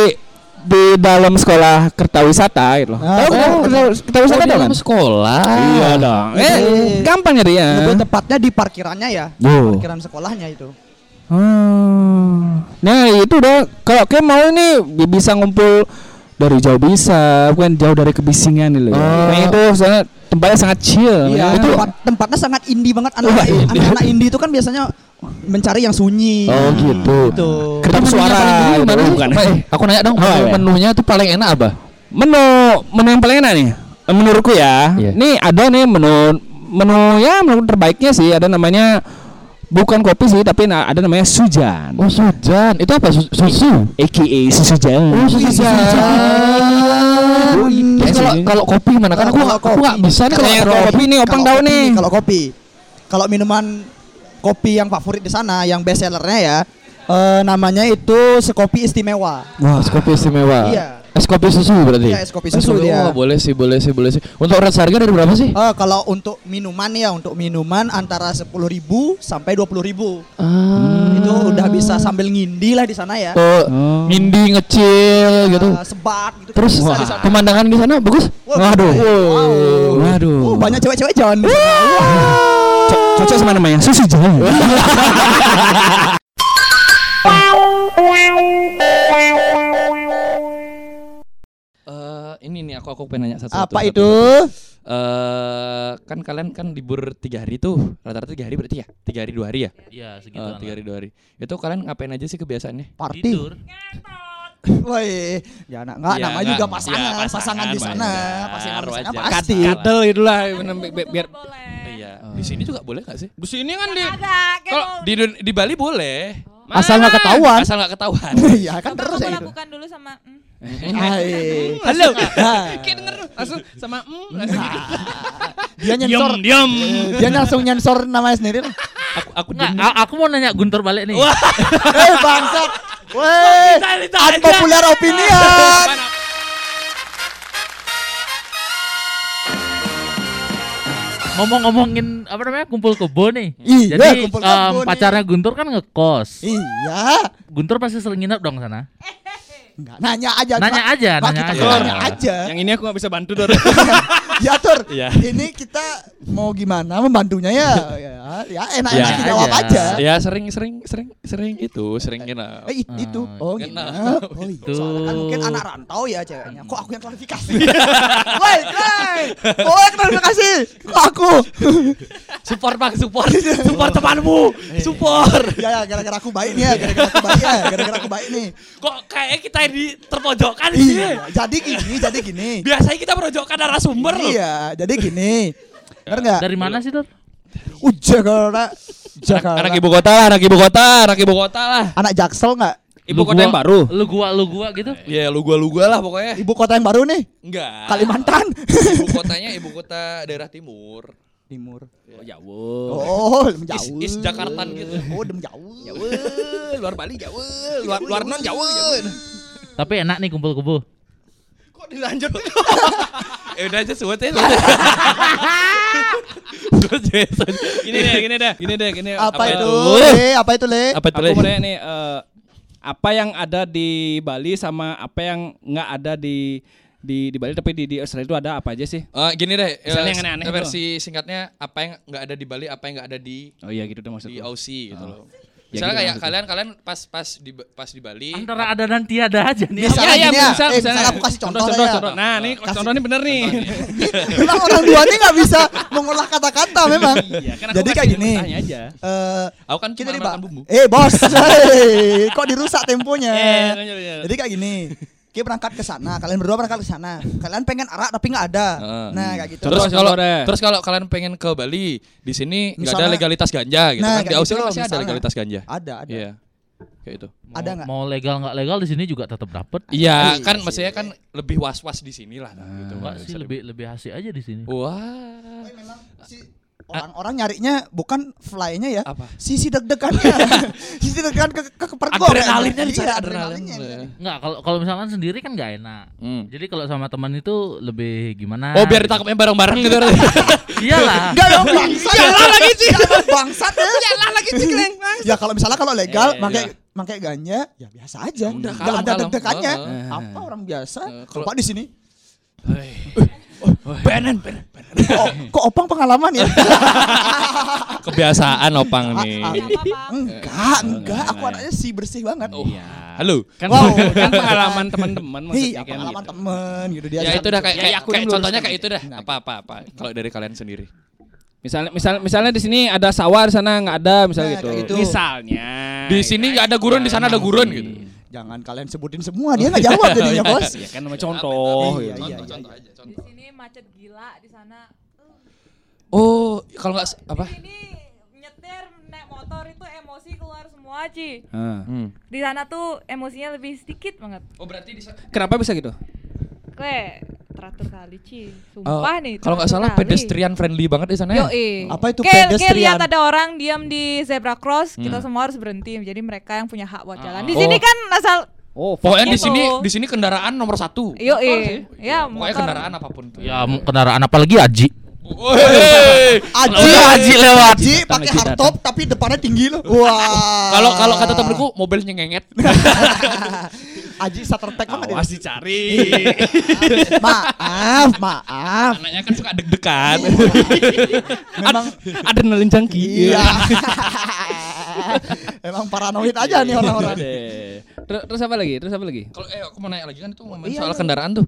S7: di dalam sekolah kertawisata gitu loh.
S4: Ah,
S7: Tahu
S4: tahu.
S7: kertawisata kertawisata tau kan?
S3: sekolah
S7: Iya dong. Eh,
S4: Iya.
S7: gampang nyari ya.
S4: Lebih tepatnya di parkirannya ya.
S7: Yo.
S4: Parkiran sekolahnya itu.
S7: Hmm. Nah itu udah kalau kayak mau ini bi- bisa ngumpul dari jauh bisa, bukan jauh dari kebisingan gitu. loh. Kayaknya itu soalnya tempatnya sangat chill.
S4: Oh. Iya.
S7: itu
S4: tempat, tempatnya sangat indie banget anak anak, anak indie itu kan biasanya mencari yang sunyi.
S7: Oh gitu.
S4: Gitu.
S7: Kedap suara gitu, bukan.
S3: aku nanya dong
S7: Oh, iya.
S3: menunya tuh paling enak apa
S7: Menu menu yang paling enak nih. eh, Menurutku ya.
S3: Iya.
S7: Nih ada nih menu menu ya menu terbaiknya sih ada namanya bukan kopi sih tapi na- ada namanya sujan.
S3: oh sujan itu apa susu
S7: AKA susujan. Oh,
S3: Oh, iya kalau kopi mana
S4: Kan aku nggak- aku nggak bisa
S7: nih Iya kalau kopi. nih, opang
S4: Kalau
S7: tahu
S4: Iya, kopi,
S7: nih.
S4: Kalau kopi. Kalau minuman kopi yang favorit di sana, yang best sellernya ya. eh, namanya itu sekopi istimewa.
S7: Wah, es kopi istimewa.
S4: Iya.
S7: Es kopi susu berarti.
S4: Iya, es kopi susu
S3: oh,
S4: dia.
S3: boleh sih boleh sih boleh sih untuk red harga dari berapa sih
S4: Eh, kalau untuk minuman ya, untuk minuman antara 10.000 sampai 20.000. Itu udah bisa sambil ngindi lah di sana ya.
S3: Ah. Oh, ngindi ngecil gitu.
S4: Eh, sebat gitu.
S3: Terus
S4: bisa
S3: wah,
S4: di sana.
S3: pemandangan di sana bagus.
S4: Wah,
S7: Waduh.
S4: Wow.
S7: Waduh.
S4: Oh, banyak cewek-cewek jalan. di sana.
S7: Co- cocok sama namanya susu jalan.
S3: Eh, ini nih aku aku pengen nanya satu.
S4: Apa
S3: satu,
S4: itu?
S3: satu, satu. Eh, kan kalian kan libur tiga hari tuh rata-rata tiga hari berarti ya? Tiga hari dua hari ya?
S5: Iya,
S3: Eh,
S5: segituan.
S3: tiga
S5: lah.
S3: hari dua hari. Itu kalian ngapain aja sih kebiasaannya?
S4: Party.
S5: Tidur.
S4: Woi, ya nak enggak
S3: Iya,
S4: namanya
S3: nggak.
S4: juga
S3: Iya,
S4: pasangan, pasangan, di sana,
S3: wajar,
S4: pasangan di sana
S3: wajar.
S4: pasti.
S2: Katel itulah bener, bi- bi-
S6: Bubur
S2: biar
S6: boleh.
S3: Iya.
S4: Oh.
S3: Di sini juga boleh gak sih?
S2: di sini kan di
S6: Agak kayak
S3: Kalau
S6: mau-
S3: di Dun- di Bali boleh.
S4: Asal
S3: Oh.
S4: nggak
S3: Mana?
S4: ketahuan.
S3: Asal nggak ketahuan.
S4: Iya, kan
S6: Coba
S4: terus
S6: kamu
S4: ya gitu.
S6: lakukan dulu sama mm.
S3: Eh.
S4: Hai.
S2: halo.
S4: Nah,
S2: Kayak denger langsung sama mm langsung gitu.
S4: dia nyensor,
S2: diam.
S4: dia langsung nyensor namanya sendiri. lah.
S3: aku aku
S5: Nggak, a- aku mau nanya Guntur balik nih.
S4: Eh, bangsat. Woi,
S3: Nah,
S4: unpopular opinion.
S5: Ngomong-ngomongin apa namanya kumpul kebo nih.
S4: Iya,
S5: Jadi
S4: kumpul
S5: em,
S4: kebo nih.
S5: pacarnya Guntur kan ngekos.
S4: Iya,
S5: Guntur pasti sering nginep dong sana.
S4: enggak nanya aja.
S5: Nanya
S4: Pak.
S5: aja,
S4: Pak,
S5: nanya
S4: kita
S5: aja.
S4: Nanya aja.
S2: Yang ini aku gak bisa bantu Dor.
S4: ya tur
S3: Iya.
S4: ini kita mau gimana membantunya ya ya, ya enak enak
S3: Ya,
S4: kita jawab
S5: aja.
S4: aja
S3: Ya sering sering sering sering itu, sering kena.
S4: Eh, it- itu
S5: Ah,
S4: oh
S3: Kenal.
S4: nginep. oh itu
S5: Itu.
S4: soalnya kan mungkin
S5: Oh.
S4: anak rantau ya ceweknya kok aku yang klarifikasi woi woi kok yang klarifikasi kok aku
S3: Support Bang, support. Support temanmu. Support.
S4: ya ya gara-gara aku baik nih ya gara-gara aku baik ya gara-gara aku baik nih
S3: Kok kayaknya kita di terpojokkan di sini?
S4: iya jadi gini jadi gini
S3: Biasanya kita merojokkan narasumber loh.
S4: iya jadi gini Bener nggak?
S5: Dari mana sih, Tur?
S4: Uh, Jakarta. Jakarta.
S3: Anak ibu kota lah, anak ibu kota, anak ibu kota lah.
S4: Anak Jaksel nggak?
S2: Ibu
S5: Lu
S2: kota yang
S5: gua-
S2: baru.
S5: Lu gua lu gua gitu.
S3: Ya lu gua lu gua lah pokoknya.
S4: Ibu kota yang baru nih?
S3: Enggak.
S4: Kalimantan.
S3: Ah. Ibu kotanya ibu kota daerah timur.
S4: Timur.
S2: Oh, jauh.
S4: Oh, menjauh.
S3: Is- is Jakartan gitu.
S4: Oh, dem jauh. Jauh.
S3: Weh, Eh, luar Bali jauh, luar Iya, luar non jauh. iya.
S5: Tapi enak nih kumpul kebo.
S3: Kok dilanjut? eh udah aja suwet ya.
S2: Gini deh, gini deh, gini deh, gini.
S4: Apa, itu?
S3: itu?
S4: Le, apa itu, Le?
S3: Apa itu?
S2: Aku mau nanya nih eh, apa yang ada di Bali sama apa yang nggak ada di di di Bali tapi di di Australia itu ada apa aja sih?
S3: Eh, gini deh, eh,
S2: Misalnya yang aneh-aneh gitu.
S3: versi singkatnya apa yang nggak ada di Bali, apa yang nggak ada di
S2: Oh iya gitu dong maksudku.
S3: di Aussie gitu loh.
S2: Ya,
S3: Misalnya
S2: gitu
S3: kayak
S2: maksudnya.
S3: kalian kalian pas pas di pas di Bali.
S5: Antara ada dan tiada aja
S4: Bisa.
S5: nih.
S4: Misalnya
S2: Iya, iya,
S4: gini ya,
S2: misal-
S4: eh, misalnya aku kasih contoh
S2: contoh,
S4: ya.
S2: contoh. Nah, ini
S4: Kasih-
S2: contoh ini bener nih.
S4: Memang orang dua ini nggak bisa mengolah kata-kata memang.
S2: Iya, kan aku
S4: Jadi
S2: kasih
S4: kayak gini.
S2: contohnya aja.
S4: Eh,
S3: Aku kan
S4: kita
S3: cuma
S4: di
S3: makan
S4: Ba-
S3: bumbu.
S4: Eh, bos. Hei, kok dirusak temponya?
S2: Eh, lanjut, lanjut.
S4: Jadi kayak gini. Kita berangkat ke sana, kalian berdua berangkat ke sana. Kalian pengen arak tapi nggak ada.
S3: Heeh.
S4: Nah, kayak
S3: Ah, hmm.
S4: gitu.
S3: Terus
S2: Contoh,
S3: kalau
S2: contoh deh.
S3: terus kalau kalian pengen ke Bali, di sini nggak ada
S4: Misalnya-
S3: legalitas ganja gitu
S4: Nah,
S3: kan. Di
S4: kayak
S3: Aussie kan
S4: gitu loh,
S3: masih ada
S4: misalnya.
S3: legalitas ganja.
S4: ada, ada.
S3: Iya. Kayak itu.
S5: Mau-
S4: Ada nggak?
S5: Mau legal nggak legal di sini juga tetap dapet.
S3: Iya,
S4: Iya
S3: kan
S4: sih.
S3: maksudnya kan lebih was-was di sini lah gitu.
S5: Enggak
S3: Nggak
S5: sih
S3: bisa
S5: lebih lebih asik aja di
S3: di-
S5: sini.
S3: Wah.
S4: Tapi memang si orang-orang nyarinya bukan fly-nya ya.
S3: Ah. Apa?
S4: Sisi deg-degannya. sisi deg-degan ke ke, ke perut gua
S3: Adrenalinnya
S4: kayaknya.
S3: dicari
S4: Iya,
S3: adrenalin.
S4: adrenalinnya.
S5: Enggak, kalau kalau misalkan sendiri kan nggak enak.
S3: Hmm.
S5: Jadi kalau sama teman itu lebih gimana?
S3: Oh, biar ditangkapnya bareng-bareng gitu.
S5: Iyalah.
S4: Enggak dong bangsat. Jalan lagi sih. bangsat. Jalan lagi cikleng. Ya kalau misalnya kalau legal
S3: Eh,
S4: pakai
S3: iya.
S4: pakai ganja ya biasa aja.
S3: Udah,
S4: Enggak
S3: kalem,
S4: ada
S3: kalem.
S4: deg-degannya.
S3: Heeh.
S4: Apa orang biasa?
S3: Eh, kalau-
S4: Kok di sini?
S3: Benen, benen, benen.
S4: Kok, kok opang pengalaman ya? Ah,
S3: Kebiasaan opang nih.
S6: Nggak apa-apa.
S4: enggak, enggak. Aku anaknya sih bersih banget.
S3: Oh,
S2: Iya.
S3: Halo.
S2: Kan,
S4: Wow.
S2: kan pengalaman teman-teman maksudnya
S4: Iya,
S2: kan
S4: pengalaman
S2: gitu.
S4: temen gitu dia.
S3: Ya itu dah kayak,
S2: Ya,
S3: kayak,
S2: ya, aku
S3: kayak
S2: dulu
S3: contohnya
S2: luruskan
S3: kayak
S2: gitu.
S3: itu dah. Apa apa apa. Kalau dari kalian sendiri.
S2: Misalnya misal, misalnya di sini ada sawah di sana nggak ada misal
S4: Nah,
S2: gitu.
S4: kayak gitu.
S2: Misalnya.
S3: Di sini nggak ada gurun, di sana ada gurun gitu.
S4: Jangan kalian sebutin semua, dia nggak jawab jadinya, Bos.
S2: ya kan nama contoh.
S4: Iya,
S2: gitu.
S4: iya, iya.
S3: Contoh aja,
S6: Di
S3: contoh.
S6: sini macet gila, di sana
S3: Oh, kalau nggak s- apa?
S6: Di sini nyetir naik motor itu emosi keluar semua, Ci.
S2: Ah.
S4: Hmm.
S6: Di sana tuh emosinya lebih sedikit banget.
S3: Oh, berarti di
S2: Kenapa bisa gitu?
S6: Kle, teratur kali, Ci. Sumpah
S3: Eh, Oh,
S6: nih.
S3: Kalau nggak
S6: teratur
S3: salah
S6: kali.
S3: pedestrian friendly banget di sana. ya?
S6: Yo, eh.
S4: Apa itu
S6: Kayak- kayak
S4: pedestrian?
S6: lihat ada orang diam di zebra cross, kita semua harus berhenti. Jadi mereka yang punya hak buat
S4: Ah.
S6: jalan.
S3: Hmm.
S6: Di
S3: Oh.
S6: sini kan asal
S2: Oh,
S3: Pokoknya di
S6: Gitu.
S3: sini di sini kendaraan nomor satu.
S6: yo eh.
S3: Pokoknya
S6: Ya, motor.
S3: kendaraan apapun tuh.
S5: Ya m- kendaraan apa lagi Aji?
S3: Woi.
S4: Aji,
S5: Udah Aji lewat.
S4: Aji pakai
S2: Aji
S4: hard top tapi depannya tinggi loh. Wah.
S3: Kalau kalau kata temenku mobilnya ngenget.
S4: Aji starter pack banget
S2: awas
S4: ya.
S2: dicari.
S4: Maaf, maaf.
S3: Anaknya kan suka deg-degan.
S4: Memang
S2: Adrenalin junkie.
S4: iya. Emang paranoid aja nih
S3: Iya,
S4: orang-orang.
S2: Aduh. Iya. Terus, terus apa lagi? Terus apa lagi?
S3: Kalau eh aku mau nanya lagi kan itu momen soal kendaraan tuh.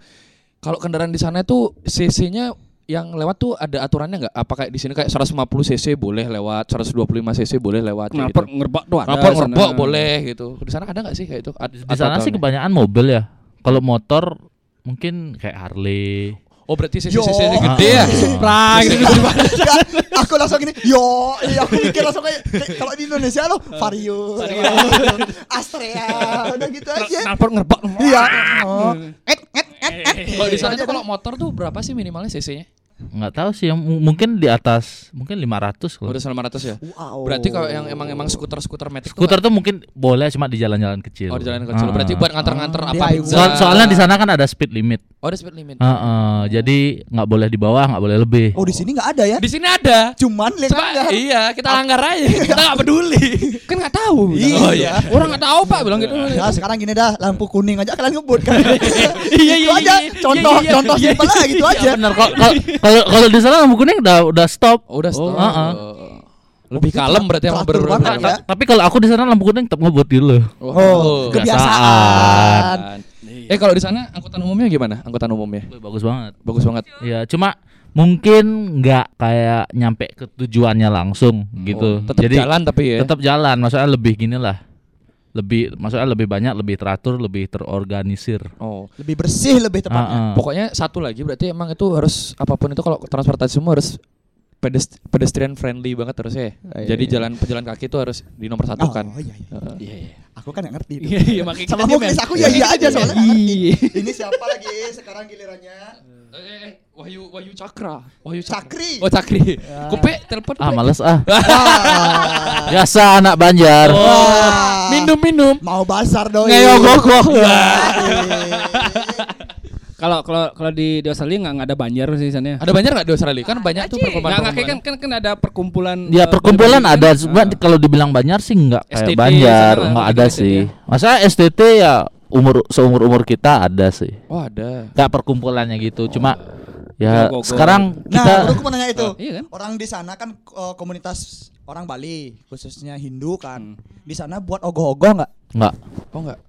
S3: Kalau kendaraan di sana itu CC-nya yang lewat tuh ada aturannya nggak? Apakah di sini kayak 150 cc boleh lewat, 125 cc boleh lewat? kayak
S2: Kenapa
S3: gitu?
S2: ngerbak tuh ada
S3: Kenapa
S2: sana.
S3: ngerbok boleh gitu? Di sana ada nggak sih kayak itu? At-
S5: Di sana sih
S3: aturannya?
S5: kebanyakan mobil ya. Kalau motor mungkin kayak Harley.
S3: Oh berarti cc
S4: Yo. Ah,
S3: cc gede ya?
S2: Supra gitu.
S4: Enggak, aku langsung gini, yo, iya, aku mikir langsung kayak kayak kalau di Indonesia lo Vario, Astrea, udah gitu aja.
S2: Kenapa ngerbak?
S4: Iya. oh. eh, Et, et, et, et.
S3: Nah. Kalau di sana tuh kalau motor tuh berapa sih minimalnya cc-nya?
S5: Nggak tahu sih, yang mu- mungkin di atas mungkin 500 kalau.
S3: Udah 900 ya.
S4: Wow.
S3: Berarti kalau yang emang emang skuter skuter metik tuh
S5: Skuter tuh mungkin boleh cuma di jalan-jalan kecil.
S3: Oh di jalan kecil.
S5: Ah.
S3: Berarti buat nganter-nganter
S4: Ah.
S3: apa?
S4: Dia-
S3: pizza.
S5: Soal- soalnya di sana kan ada speed limit.
S3: Oh ada speed limit.
S5: Ah, ah, jadi nggak boleh di bawah, nggak boleh lebih.
S4: Oh, di sini nggak ada ya?
S3: Di sini ada.
S4: Cuman lihat
S3: Coba iya kita langgar aja. kita nggak peduli.
S2: Kan nggak tahu.
S4: Iya.
S2: Oh iya. Orang nggak tahu Pak bilang gitu.
S4: Ya sekarang gini dah lampu kuning aja kalian ngebut kan.
S3: Iya,
S4: Gitu
S3: iya,
S4: aja.
S3: iya, iya.
S4: Contoh
S3: Iya, iya,
S4: contoh
S3: iya,
S4: simpel lah gitu aja.
S5: Bener kok. kok- Kalau kalau di sana lampu kuning udah udah stop.
S3: Oh, udah stop.
S5: ah, ah.
S3: Lebih kalem berarti emang
S4: Teratur
S3: ber
S4: banget
S3: ber-
S4: ya.
S5: Tapi kalau aku di sana lampu kuning tetap ngebut gitu loh.
S3: Wah, kebiasaan.
S4: Oh, kebiasaan.
S3: iya. Eh kalau di sana angkutan umumnya gimana? Angkutan umumnya
S5: Wih, Bagus banget.
S3: bagus banget.
S5: Ya, cuma mungkin nggak kayak nyampe ke tujuannya langsung gitu.
S3: Oh, tetap
S5: Jadi
S3: jalan tapi ya.
S5: tetap jalan, maksudnya lebih gini lah. Lebih maksudnya lebih banyak, lebih teratur, lebih terorganisir.
S3: Oh.
S4: Lebih bersih, lebih tepatnya.
S5: Ah, ah.
S3: Pokoknya satu lagi berarti emang itu harus apapun itu kalau transportasi semua harus pedest- pedestrian friendly banget harusnya. ya. Jadi jalan pejalan kaki itu harus di nomor satu kan.
S4: Ah, iya, Oh, iya, iya.
S3: Heeh. Iya, iya.
S4: Aku kan nggak ngerti.
S2: Iya, iya, makanya
S4: Sama
S2: kita
S4: muklis
S2: diem,
S4: aku ya iya aja soalnya nggak ngerti.
S2: Iya.
S4: Ini siapa lagi sekarang gilirannya?
S3: Wahyu Wahyu Cakra. Wahyu
S4: Cakri.
S3: Oh Cakri. Kupe telepon.
S5: Ah, males ah.
S4: Wah.
S5: Biasa anak Banjar.
S4: Wah.
S3: Minum minum.
S4: Ah. Mau basar doi. Iya.
S5: Ngeyogok-gok.
S2: Kalau kalau kalau di di Australia nggak nggak ada banjar sih sana.
S4: Ah.
S3: Ada banyak nggak di Australia? Kan banyak tuh
S6: Ada, Ci.
S2: Nggak
S3: perkumpulan.
S2: nggak kayak kan kan kan ada perkumpulan.
S5: Ya
S2: eh,
S5: perkumpulan
S2: Bali-Bali
S5: ada,
S2: kan.
S5: cuma
S2: Ah.
S5: kalau dibilang Banjar sih nggak
S2: STT,
S5: kayak Banjar,
S2: sana
S5: nggak
S2: ada
S5: ada
S2: STT,
S5: sih. Masa STT ya umur seumur umur kita ada sih.
S3: Oh ada.
S5: Kayak perkumpulannya gitu, cuma ya
S2: Gogor.
S5: sekarang
S4: Nah,
S5: kita
S4: baru aku mau nanya itu.
S2: Iya kan?
S4: Orang di sana kan eh, komunitas orang Bali, khususnya Hindu kan. Di sana buat ogoh-ogoh nggak?
S5: nggak.
S3: Oh enggak.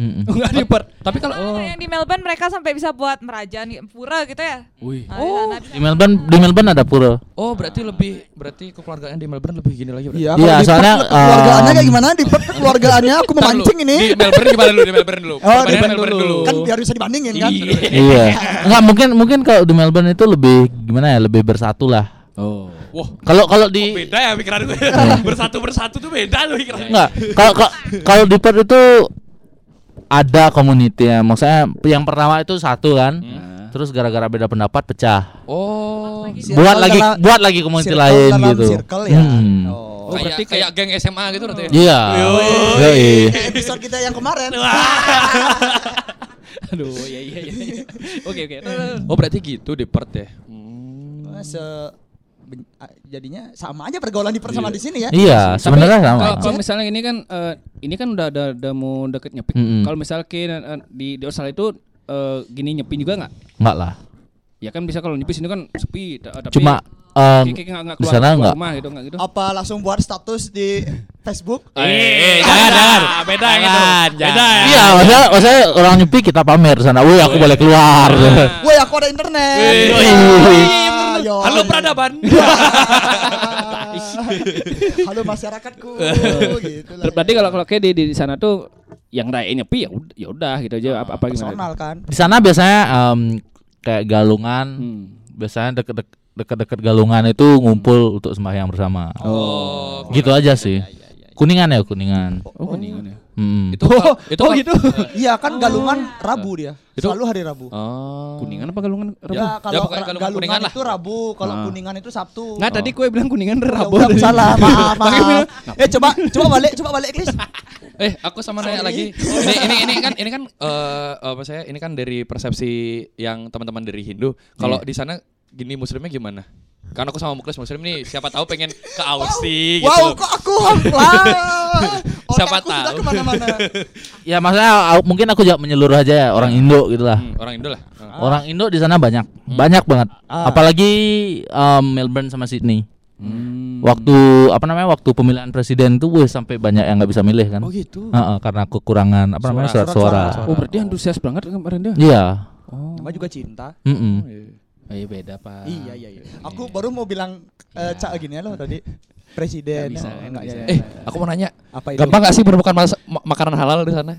S5: Mm-mm.
S2: Nggak di per.
S3: Tapi kalau oh.
S6: Karena yang di Melbourne mereka sampai bisa buat merajan gitu, pura gitu ya.
S3: Wih.
S6: Nah,
S4: Oh.
S6: di sana bisa-
S5: Di Melbourne, di Melbourne ada pura.
S3: Oh berarti lebih berarti kekeluargaan di Melbourne lebih gini lagi berarti.
S4: Iya,
S5: Iya,
S4: kalau di
S5: soalnya,
S4: Perth keluargaannya
S5: em,
S4: kayak gimana? Di Perth keluargaannya aku
S3: Ntar
S4: memancing
S3: dulu,
S4: ini.
S3: Di Melbourne gimana dulu? Di Melbourne dulu.
S4: Oh, di
S3: Bandingin
S4: Perth dulu. Kan biar bisa dibandingin kan.
S5: iya. Nggak mungkin mungkin kalau di Melbourne itu lebih gimana ya, lebih bersatu lah.
S2: Oh.
S3: Wah,
S5: Kalau kalau di
S3: beda ya pikiran gue. bersatu bersatu tuh beda tuh pikiran.
S5: Enggak, kalau kalau- kalau di Perth itu ada community ya. Maksudnya yang pertama itu satu kan. Terus gara-gara beda pendapat pecah.
S3: Oh.
S4: Circle
S5: buat lagi
S4: dalam-
S5: buat lagi komunitas
S4: circle
S5: lain
S4: dalam
S5: gitu.
S4: Circle ya.
S5: Hmm.
S4: Oh.
S3: Oh, berarti kayak, geng SMA gitu berarti. ya?
S5: Iya. Yoi.
S4: Kayak episode kita yang kemarin.
S2: Aduh, ya iya iya. iya. Oke oke.
S3: Oh, berarti gitu di Perth ya.
S4: Se ben- a- jadinya sama aja pergaulan di Perth sama di sini ya.
S5: Iya, sebenarnya
S2: Tapi
S5: sama.
S2: kalau- Kalau misalnya ini kan eh, ini kan udah udah, udah mau deket nyepin.
S5: Mm-mm.
S2: Kalau misalnya kayak, eh, di di Australia itu eh, gini nyepin juga nggak?
S5: Enggak lah.
S2: Ya kan bisa kalau nyepi sini kan sepi. ta- Tapi
S5: Cuma eh,
S2: kayak- kayak nggak- nggak
S5: di
S2: keluar-
S5: sana
S2: keluar
S5: enggak.
S2: rumah gitu nggak gitu.
S4: Apa langsung buat status di Facebook?
S3: Eh, jangan, jangan. Beda gitu. Beda ya.
S5: Iya, maksudnya, maksudnya orang nyepi kita pamer di sana. Woi, aku boleh keluar.
S4: Woi, aku ada internet.
S5: Wih.
S4: Ah, yo.
S3: Halo peradaban.
S4: Halo masyarakatku gitu lah.
S2: Ter- Berarti kalau kalau kayak di di di sana tuh yang rayain nyepi ya ud- ya udah gitu aja apa apa
S4: personal
S2: gimana?
S4: kan.
S5: Di sana biasanya em, kayak galungan,
S2: Hmm.
S5: biasanya deket-deket deket-deket galungan itu ngumpul untuk sembahyang bersama.
S3: Oh.
S5: Gitu aja sih. Kuningan ya, kuningan.
S2: Oh, kuningan ya.
S5: Mm.
S3: Itu kal- itu kal-
S4: Iya kan Galungan Rabu dia. Selalu hari Rabu.
S3: Oh.
S2: Kuningan apa galungan? Rabu?
S4: Ya kalau
S3: pokoknya Galungan
S4: Galungan,
S3: Kuningan lah.
S4: itu Rabu, kalau Kuningan itu Sabtu.
S2: Nggak tadi kue bilang kuningan Rabu.
S4: Rabu. salah, maaf, maaf. Eh coba coba balik, coba balik, Kris.
S3: Eh, aku sama nanya lagi.
S4: Sorry.
S3: Ini, ini ini kan ini kan eh apa saya ini kan dari persepsi yang teman-teman dari Hindu. Kalau di sana gini muslimnya gimana? Karena aku sama Muklis muslim nih, siapa tahu pengen ke Aussie gitu.
S4: Wow, kok aku lah. Otak
S3: Siapa
S4: aku sudah
S3: tahu.
S4: kemana-mana.
S5: Ya maksudnya au- mungkin aku jawab menyeluruh aja ya orang Indo gitu lah.
S3: Hmm, orang Indo lah. Heeh.
S5: Orang Indo di sana banyak,
S3: Hmm.
S5: banyak banget.
S3: Ah.
S5: Apalagi um, Melbourne sama Sydney.
S3: Hmm.
S5: Waktu apa namanya waktu pemilihan presiden tuh wih sampai banyak yang nggak bisa milih kan.
S3: Oh gitu.
S5: Heeh, karena kekurangan apa namanya
S3: Suara. Oh,
S5: surat suara.
S2: Oh berarti antusias banget kemarin dia.
S5: Iya.
S4: Nama juga cinta.
S5: Mm-mm.
S2: Oh, iya beda pak.
S4: Iya iya iya. Aku baru mau bilang eh, cak gini ya loh tadi presiden.
S2: Nggak bisa,
S4: Oh,
S2: nggak
S4: nggak,
S2: bisa.
S4: iya, iya.
S3: Eh, aku mau nanya,
S4: apa itu?
S3: gampang gak sih menemukan mas- ma- makanan halal di sana?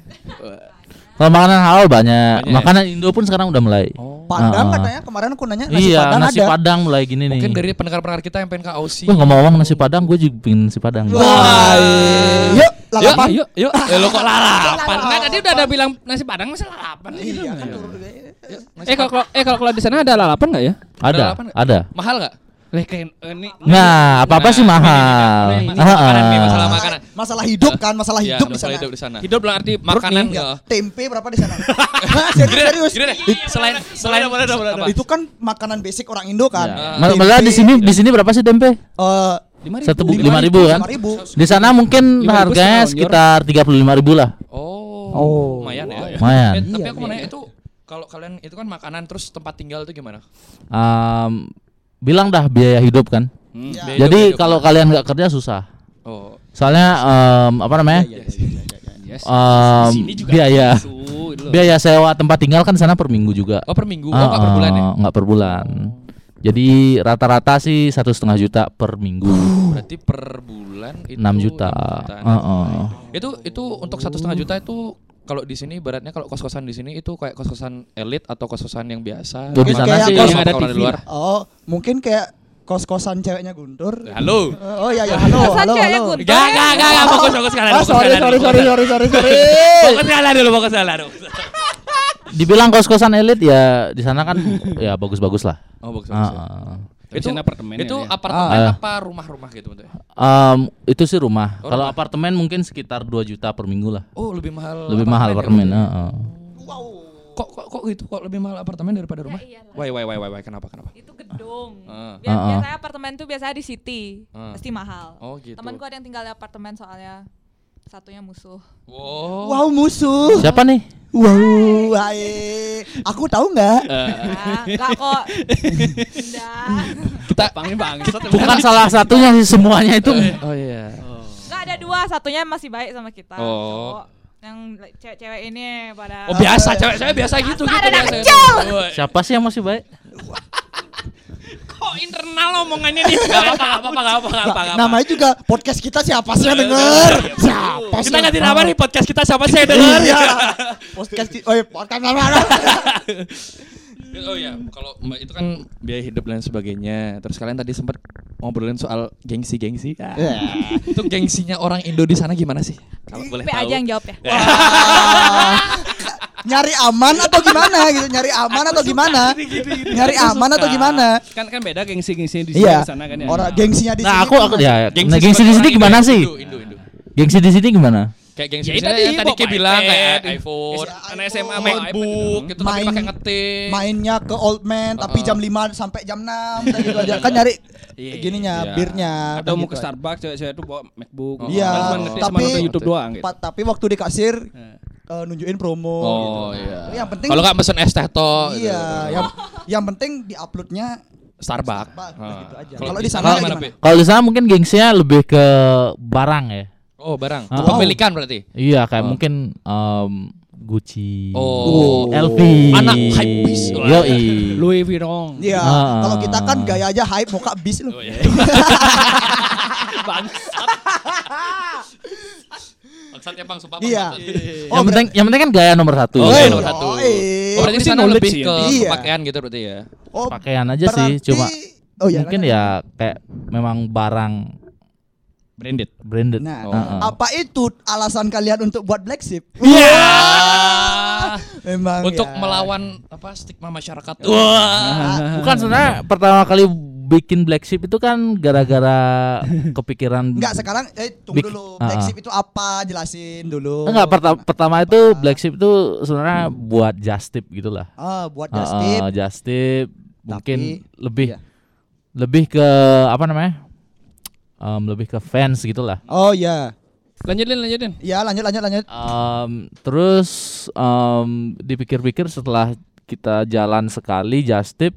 S5: Kalau makanan halal banyak,
S3: iya. Banyak Oh. ya?
S5: makanan Indo pun sekarang udah mulai.
S4: Padang
S5: Ah.
S4: katanya kemarin aku nanya nasi
S5: iya,
S4: padang
S5: nasi
S4: ada.
S5: padang mulai gini nih.
S3: Mungkin dari pendengar-pendengar kita yang pengen ke Aussie.
S5: Wah, ngomong-ngomong nasi padang, gue juga pingin nasi padang.
S4: Wah, yuk
S3: Yuk,
S4: lalapan.
S3: yuk, yuk. Eh, lo kok lalapan?
S2: Nah tadi udah ada bilang nasi padang masa lalapan gitu.
S4: Iya kan turun juga.
S2: Eh kalau kalau- eh kalau kalau di sana ada lalapan nggak ya?
S5: Ada,
S3: lalapan nggak?
S5: ada.
S3: Mahal gak?
S2: Lah kayak eh, ini.
S5: Nah, apa-apa sih mahal.
S2: ini, ini, ini,
S5: Ah,
S3: makanan nih,
S5: ah.
S3: masalah makanan.
S4: Masalah hidup kan,
S5: Oh,
S4: masalah
S3: Iya,
S4: hidup di
S3: masalah
S4: sana.
S3: hidup di sana.
S2: Hidup lah arti perut
S3: Makanan
S5: iya.
S2: nih.
S3: ya.
S4: Tempe berapa di sana? Hah, serius, serius.
S3: Gini deh, selain selain apa?
S4: Itu kan makanan basic orang Indo kan.
S5: Iya.
S4: Tempe,
S5: Ma- Malah di sini di sini berapa sih tempe?
S4: eh,
S2: Lima ribu.
S5: Satu bu-
S2: Lima
S5: lima ribu kan?
S4: lima ribu.
S5: Di sana mungkin
S2: 5.000
S5: harganya
S2: setahun, Yor.
S5: sekitar 35.000 lah.
S3: Oh,
S4: Oh.
S3: lumayan ya.
S5: Lumayan. Iya,
S3: Eh, tapi aku mau nanya itu kalau kalian itu kan makanan terus tempat tinggal itu gimana?
S5: Em, bilang dah biaya hidup kan.
S2: Hmm.
S3: Biaya
S5: Jadi
S3: hidup-hidup.
S5: kalau kalian nggak kerja susah.
S3: oh,
S5: Soalnya em, apa namanya?
S3: Iya,
S2: Yes.
S5: Em, biaya
S2: Su, itu loh.
S5: biaya sewa tempat tinggal kan di sana per minggu juga.
S3: gitu oh per minggu, oh nggak per
S5: Ah,
S3: bulan ya?
S5: ah, nggak per bulan. Jadi rata-rata sih satu setengah juta per minggu.
S3: Berarti per bulan itu
S5: 6 juta.
S3: enam jutaan.
S5: Ah, ah.
S3: Itu itu untuk satu setengah juta itu kalau di sini baratnya kalau kos-kosan di sini itu kayak kos-kosan elit atau kos-kosan yang biasa.
S5: Tuh, di
S3: Apa-
S5: sana
S3: apa
S5: sih
S3: kos-
S2: yang
S3: apa
S2: ada
S3: kalau
S2: TV
S3: di luar.
S4: Oh, mungkin kayak kos-kosan ceweknya Guntur.
S3: Halo.
S4: Eh, Oh iya iya, halo,
S6: Kosan
S4: halo,
S6: ceweknya
S4: halo.
S6: Guntur.
S3: Gak, gak, gak, gak, fokus, fokus kanan,
S4: Ah,
S3: fokus
S4: sorry,
S3: kanan,
S4: sorry,
S3: fokus
S4: sorry,
S3: kanan.
S4: sorry, sorry, sorry.
S3: Fokus kanan dulu, fokus kanan. fokus kanan.
S5: Dibilang kos-kosan elit ya di sana kan ya bagus-bagus lah.
S3: Oh, bagus,
S5: Ah,
S3: bagus.
S5: ah.
S2: Di sana apartemen
S3: itu
S2: ya, ya.
S3: apartemen
S5: Ah.
S3: apa rumah-rumah gitu bentuknya?
S5: Em, itu sih rumah.
S3: Oh, rumah.
S5: Kalau apartemen mungkin sekitar 2 juta per minggu lah.
S3: Oh, lebih mahal.
S5: Lebih mahal
S3: ya, Oh.
S5: apartemen.
S3: berarti?
S5: heeh.
S3: Kok kok kok gitu? Kok lebih mahal apartemen daripada rumah? Wai wai wai wai wai kenapa kenapa?
S6: itu gedung.
S3: Ah.
S6: Bia-
S5: Ah, ah.
S6: Biasanya apartemen tuh biasanya di city,
S3: Ah.
S6: pasti mahal.
S3: Oh, gitu.
S6: Temanku ada yang tinggal di apartemen soalnya satunya musuh.
S3: Wow.
S4: Wow, musuh.
S5: Siapa nih?
S4: Wow, hai. Aku tahu nggak?
S6: Nah, enggak kok. Enggak.
S3: Kita panggil bangsat.
S5: Bukan salah satunya sih semuanya itu.
S3: Oh iya.
S6: Enggak ada dua, satunya masih baik sama kita.
S3: Oh.
S6: cowok. Yang le- cewek-cewek ini pada
S3: Oh biasa cewek saya biasa gitu gitu
S6: ada
S3: biasa.
S6: kecil.
S3: Woi.
S5: Siapa sih yang masih baik?
S2: Kok internal omongannya nih?
S3: Gak apa apa apa apa apa apa. Eh,
S4: Namanya juga podcast kita siapa
S3: ya,
S4: sih yang denger? Siapa sih?
S3: Kita
S4: yang
S3: ganti
S4: tahu?
S3: nama nih podcast kita siapa sih yang denger?
S4: Iya. Podcast kita, oh, podcast nama.
S3: Oh iya, kalau Mbak itu kan biaya hidup dan sebagainya. Terus kalian tadi sempat ngobrolin soal gengsi-gengsi. Ah. Itu gengsinya orang Indo di sana gimana sih? Kalau boleh
S6: Be
S3: tahu.
S6: aja yang jawab ya.
S4: Ah, nyari aman atau gimana gitu nyari aman atau gimana nyari aman atau gimana
S2: Kan kan beda gengsi-gengsi di sini
S4: iya
S2: di sana kan ya.
S4: orang gengsinya di sini
S5: Nah, aku aku ya. Nah, gengsi
S3: sebagai
S5: di
S3: orang gitu. Indo,
S5: sini gimana
S3: Indo,
S5: sih?
S3: Indo, Indo, Indo.
S5: Gengsi di sini gimana?
S3: Kayak gengsi
S2: Ya,
S3: di
S2: itu
S3: sana
S2: tadi,
S3: yang tadi
S2: bawa
S3: kayak bilang
S2: iPad.
S3: kayak iPhone,
S2: Ya,
S3: anak
S4: iPhone,
S3: SMA MacBook gitu tapi
S4: Main-
S3: pakai ngetik.
S4: mainnya ke old man tapi jam 5 sampai jam 6 kayak gitu aja kan nyari
S3: Iya.
S4: gininya
S3: Iya.
S4: birnya
S2: Atau
S4: udah
S2: mau ke
S4: gitu aja.
S2: Starbucks cewek-cewek itu bawa MacBook.
S3: Oh,
S4: iya
S2: Padahal cuma ngetik sama
S4: tapi
S2: nonton YouTube doang gitu.
S4: pa- tapi waktu di kasir eh, nunjukin promo
S3: Oh
S4: gitu.
S3: iya.
S4: Yang penting
S3: kalau nggak pesen es teh toh. gitu.
S4: iya yang yang penting di uploadnya
S3: Starbucks.
S4: Starbucks,
S3: Ah.
S4: gitu aja. Kalau di sana
S3: gimana,
S4: gimana?
S5: Kalau di sana mungkin gengsinya lebih ke barang ya.
S3: Pi? Oh, barang.
S5: Ah.
S3: Kepemilikan berarti.
S5: Iya, kayak mungkin em, Gucci,
S3: Oh.
S5: LV,
S3: Anak hypebeast.
S5: Yoi.
S2: Louis Vuitton.
S4: Iya,
S5: Ah.
S4: kalau kita kan gaya aja hype muka bis Oh, loh.
S3: Bangsat ya, Bang, sumpah
S4: Iya.
S3: bangsat.
S4: Oh,
S5: yang penting yang penting kan gaya nomor satu.
S3: Oh,
S4: Woi.
S3: iya, nomor satu.
S4: Yoi.
S3: Oh, berarti
S2: Aku
S3: di
S2: sih
S3: sana
S2: knowledge
S3: lebih
S2: sih,
S3: ke
S4: Iya.
S3: pakaian gitu berarti ya.
S4: Oh,
S5: Pakaian aja sih,
S4: berarti-
S5: cuma
S4: Oh iya.
S5: mungkin
S4: kan?
S5: ya kayak memang barang
S3: Branded.
S5: branded.
S4: Nah,
S3: Oh.
S5: Heeh.
S4: apa itu alasan kalian untuk buat black sheep?
S3: Iya.
S4: Memang
S3: Ah. Untuk
S4: ya.
S3: melawan apa stigma masyarakat. Wah.
S5: Bukan sebenarnya pertama kali bikin black sheep itu kan gara-gara kepikiran
S4: Enggak, sekarang eh tunggu
S5: Big-
S4: dulu. Black
S5: Ah, ah.
S4: sheep itu apa? Jelasin dulu.
S5: Enggak, pertama, pertama itu black sheep itu sebenarnya buat just tip gitu lah.
S4: Ah, buat
S5: Heeh,
S4: just tip.
S5: just tip mungkin
S4: Tapi-
S5: lebih
S4: iya.
S5: lebih ke apa namanya? Em, lebih ke fans gitulah.
S4: Oh iya.
S2: Lanjutin lanjutin.
S4: Ya, lanjut lanjut lanjut.
S5: Em, terus em, dipikir-pikir setelah kita jalan sekali just tip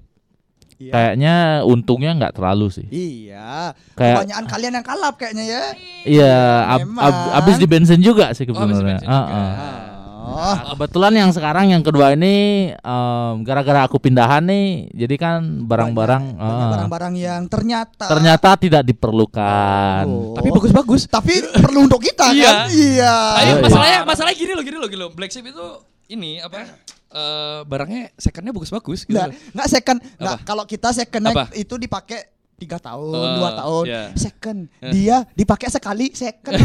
S4: Iya.
S5: kayaknya untungnya nggak terlalu sih.
S4: Iya.
S5: Kayak-
S4: Kebanyakan kalian yang kalap kayaknya ya.
S5: Iya, ab- ab-
S4: Memang.
S5: abis di bensin juga sih
S3: Oh, habis
S5: sebenarnya.
S3: bensin
S5: Ah,
S3: juga.
S5: ah.
S4: Oh,
S5: Nah, kebetulan yang sekarang yang kedua ini em, gara-gara aku pindahan nih, jadi kan barang-barang
S4: banyak
S5: eh,
S4: barang-barang yang ternyata
S5: ternyata tidak diperlukan.
S4: Oh.
S3: Tapi bagus-bagus.
S4: tapi perlu untuk kita
S3: Iya.
S4: kan? Iya.
S3: Tapi
S5: iya.
S3: masalahnya masalahnya gini loh, gini loh, gini loh. Black Sheep itu ini apa? eh barangnya secondnya bagus-bagus gitu.
S4: Nggak,
S3: loh.
S4: nggak second. Nggak,
S3: Apa?
S4: kalau kita second
S3: Apa?
S4: itu dipakai tiga tahun,
S3: Eh,
S4: dua tahun.
S3: iya.
S4: Second,
S3: Eh.
S4: dia dipakai sekali second.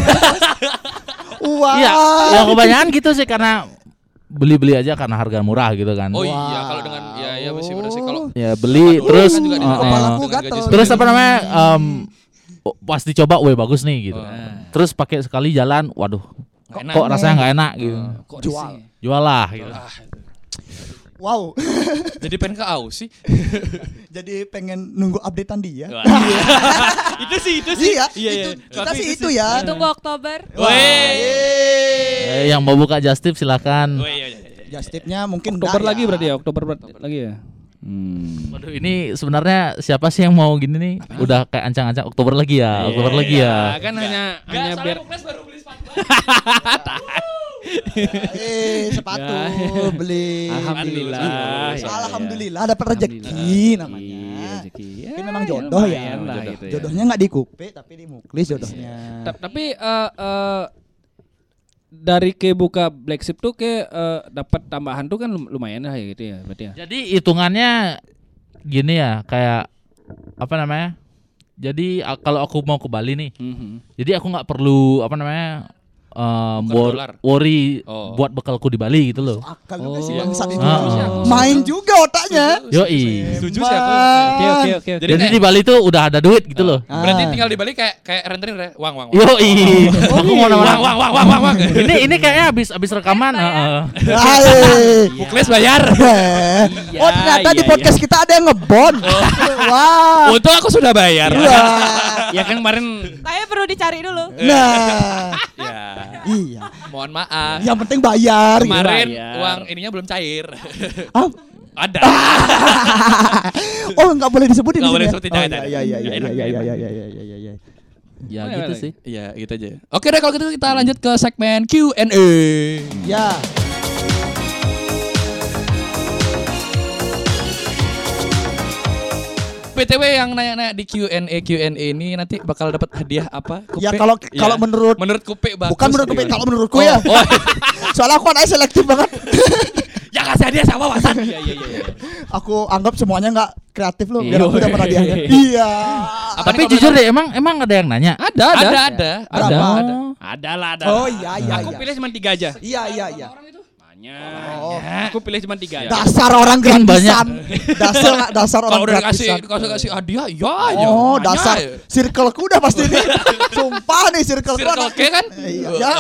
S4: Wah.
S5: Iya,
S4: Ah.
S5: ya kebanyakan gitu sih karena beli-beli aja karena harga murah gitu kan.
S3: Oh
S4: Wah.
S3: iya, kalau dengan ya ya masih bener sih kalau
S5: Ya beli
S3: Aduh,
S5: terus
S3: kan juga di-
S5: eh, eh,
S4: Kepalaku
S3: dengan gaji
S4: gatel.
S3: segitu.
S5: terus apa namanya? em, oh, pas dicoba, weh bagus nih gitu.
S3: Oh.
S5: Terus pakai sekali jalan, waduh. Kok,
S3: Nggak
S5: kok
S3: enak.
S5: rasanya nggak enak gitu.
S3: Eh, kok
S4: Jual.
S3: sih?
S5: Jual lah gitu.
S3: Ah,
S4: Wow.
S3: jadi pengen ke Iya. Aussie.
S4: Jadi pengen nunggu updatean dia.
S3: Wah. itu sih, itu sih.
S4: Iya,
S3: Iya,
S4: itu
S3: iya.
S4: kita
S3: Tapi
S4: sih
S3: itu
S4: itu
S3: sih.
S4: ya.
S6: Tunggu Oktober.
S3: Woi.
S5: Eh, yang mau buka just tip silakan.
S3: Woi, iya, iya, iya.
S4: Just tipnya mungkin
S2: Oktober
S4: nggak
S2: lagi
S4: ya.
S2: berarti ya, Oktober berarti lagi ya. Hmm.
S5: Waduh ini sebenarnya siapa sih yang mau gini nih? Udah kayak ancang-ancang Oktober lagi
S3: Iya,
S5: ya, Oktober lagi ya.
S2: Nah, kan hanya hanya biar
S4: Eh, sepatu
S2: Ya.
S4: beli.
S2: Alhamdulillah.
S4: Beli.
S2: Ya, ya.
S4: Alhamdulillah dapat rezeki
S2: Alhamdulillah.
S4: namanya.
S2: Iya, rezeki. Ya,
S4: Tapi memang jodoh ya.
S2: lumayan lah gitu ya. Iya.
S4: Jodohnya nggak di Kupe tapi di Muklis jodohnya.
S2: Ta- tapi eh, eh, dari ke buka black sheep tuh ke eh, dapat tambahan tuh kan lum- lumayan lah ya gitu ya berarti ya.
S5: Jadi hitungannya gini ya, kayak apa namanya? Jadi a- kalau aku mau ke Bali nih,
S2: Mhm.
S5: jadi aku nggak perlu apa namanya? eh,
S3: Bukan
S5: wor-
S3: dolar.
S5: worry
S3: Oh.
S5: buat bekalku di Bali gitu loh.
S4: Akal juga sih
S2: Oh.
S4: bangsa itu.
S5: Ah.
S4: Main juga otaknya.
S5: Yoi.
S3: Setuju sih aku.
S2: Oke oke oke. oke.
S3: Jadi
S5: Jadi,
S3: kayak-
S5: di Bali tuh udah ada duit gitu loh.
S3: Berarti
S4: Ah.
S3: tinggal di Bali kayak kayak renterin ya. Wang, wang, wang.
S5: Yoi. aku
S3: Wang,
S5: mau nama.
S3: wang, wang, wang, wang, wang.
S4: Iya.
S5: Ini ini kayaknya habis habis rekaman. heeh.
S4: Hai.
S3: Muklis bayar.
S4: Eh. oh ternyata
S2: Iya. iya, Oh.
S4: di podcast kita ada yang ngebon. Wah.
S3: Untung aku sudah bayar.
S2: iya.
S4: Iya. Wah.
S2: ya kan kemarin
S6: Kayaknya perlu dicari dulu.
S2: Iya.
S4: Nah,
S3: Ya.
S4: iya.
S3: Mohon maaf.
S4: Yang penting Iya, bayar. gitu.
S3: Kemarin
S2: Bayar.
S3: uang ininya belum cair.
S4: Ah,
S3: Ada.
S4: Oh, nggak boleh disebutin.
S3: Nggak
S4: di sini
S3: boleh
S4: ya?
S3: disebutin,
S4: Oh,
S3: jangan,
S4: Iya, iya, iya,
S3: jangan.
S4: iya,
S3: Enak,
S4: iya, iya,
S3: enak.
S4: iya, iya, iya, iya, iya.
S5: Ya
S2: Boleh,
S5: gitu
S2: boleh.
S5: sih.
S3: Iya, gitu aja. Oke deh kalau gitu kita lanjut ke segmen Q&A.
S4: Ya.
S3: PTW yang nanya-nanya di Q&A Q&A ini nanti bakal dapat hadiah apa? Kupe?
S4: Ya kalau kalau
S3: Ya.
S4: menurut
S3: menurut Kupe bagus.
S4: bukan menurut Kupik,
S3: Gimana?
S4: kalau menurutku ya.
S3: Oh,
S4: Soalnya aku anaknya selektif banget.
S3: ya kasih hadiah sama Wasan.
S4: Iya, Aku anggap semuanya nggak kreatif loh, biar
S2: Iya.
S4: aku dapat hadiahnya. Iya.
S3: Apa
S5: Tapi jujur deh, emang emang ada yang nanya.
S2: ada ada.
S3: ada ada ada.
S4: Berapa?
S3: ada.
S2: Ada lah ada.
S4: Oh
S2: lah.
S4: iya, iya,
S2: Aku
S4: iya.
S2: pilih cuma tiga aja.
S4: Iya, iya, iya.
S2: Banyak.
S4: Oh.
S3: Nah,
S2: Aku pilih cuma tiga aja.
S4: Dasar orang
S5: Kan banyak.
S4: gratisan. Dasar dasar orang
S3: Kalau udah dikasih
S4: gratisan.
S3: dikasih kasih hadiah, ya ya.
S4: Oh,
S3: Nanya
S4: dasar
S3: ya.
S4: circleku udah pasti nih. Sumpah nih circleku.
S3: Circle
S4: anak-
S3: K kan?
S4: Iya. Ya.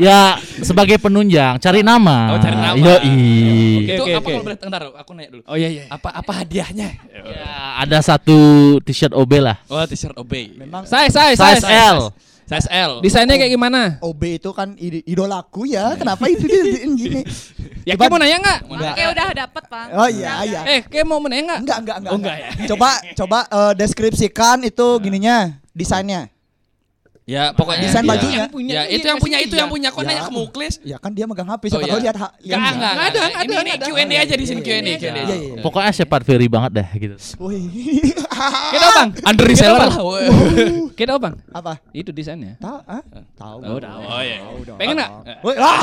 S5: Ya sebagai penunjang cari nama.
S3: Oh, cari nama.
S5: Yoi.
S2: Oke,
S3: Itu
S2: oke,
S3: apa
S2: oke.
S3: kalau boleh ntar aku nanya dulu.
S2: Oh iya iya.
S3: Apa apa hadiahnya?
S5: Ya, ada satu t-shirt OB lah.
S3: Oh, t-shirt obey.
S4: Memang
S2: Saya saya
S3: Eh,
S2: saya.
S5: Size L.
S3: Size L.
S2: Desainnya kayak gimana?
S4: OB itu kan ide- idolaku ya. Kenapa itu dijadiin gini?
S2: Ya kamu mau nanya nggak?
S6: Oke, udah dapet, Bang.
S4: Oh iya, iya.
S2: Eh, kayak mau nanya nggak?
S4: Enggak, enggak, enggak.
S2: Oh, enggak
S4: enggak. Coba coba eh, deskripsikan itu gininya, desainnya.
S3: Ya, pokoknya
S4: Desain
S3: ya.
S4: bajunya.
S3: Yang punya Ya, itu yang punya itu yang punya kok
S4: Ya.
S3: nanya ke Muklis.
S4: Ya kan dia megang HP,
S3: Oh,
S4: siapa
S3: iya.
S4: tahu lihat ha- lihat.
S3: Enggak, enggak,
S2: Nggak ada, nggak
S3: enggak. Ini,
S2: ada,
S3: ini
S2: nggak ada.
S3: Q&A aja di sini Q&A. Q&A.
S4: Iya, iya, iya.
S5: Pokoknya Shepard Ferry banget deh gitu.
S4: Wih.
S2: Kita bang.
S3: Under
S2: reseller
S3: reseller.
S2: lah. Kita bang.
S4: Apa?
S2: Itu desainnya.
S4: Tahu, ah? Tahu.
S2: Oh, tahu.
S3: Oh iya.
S2: Pengen nggak?
S4: Woi, wah.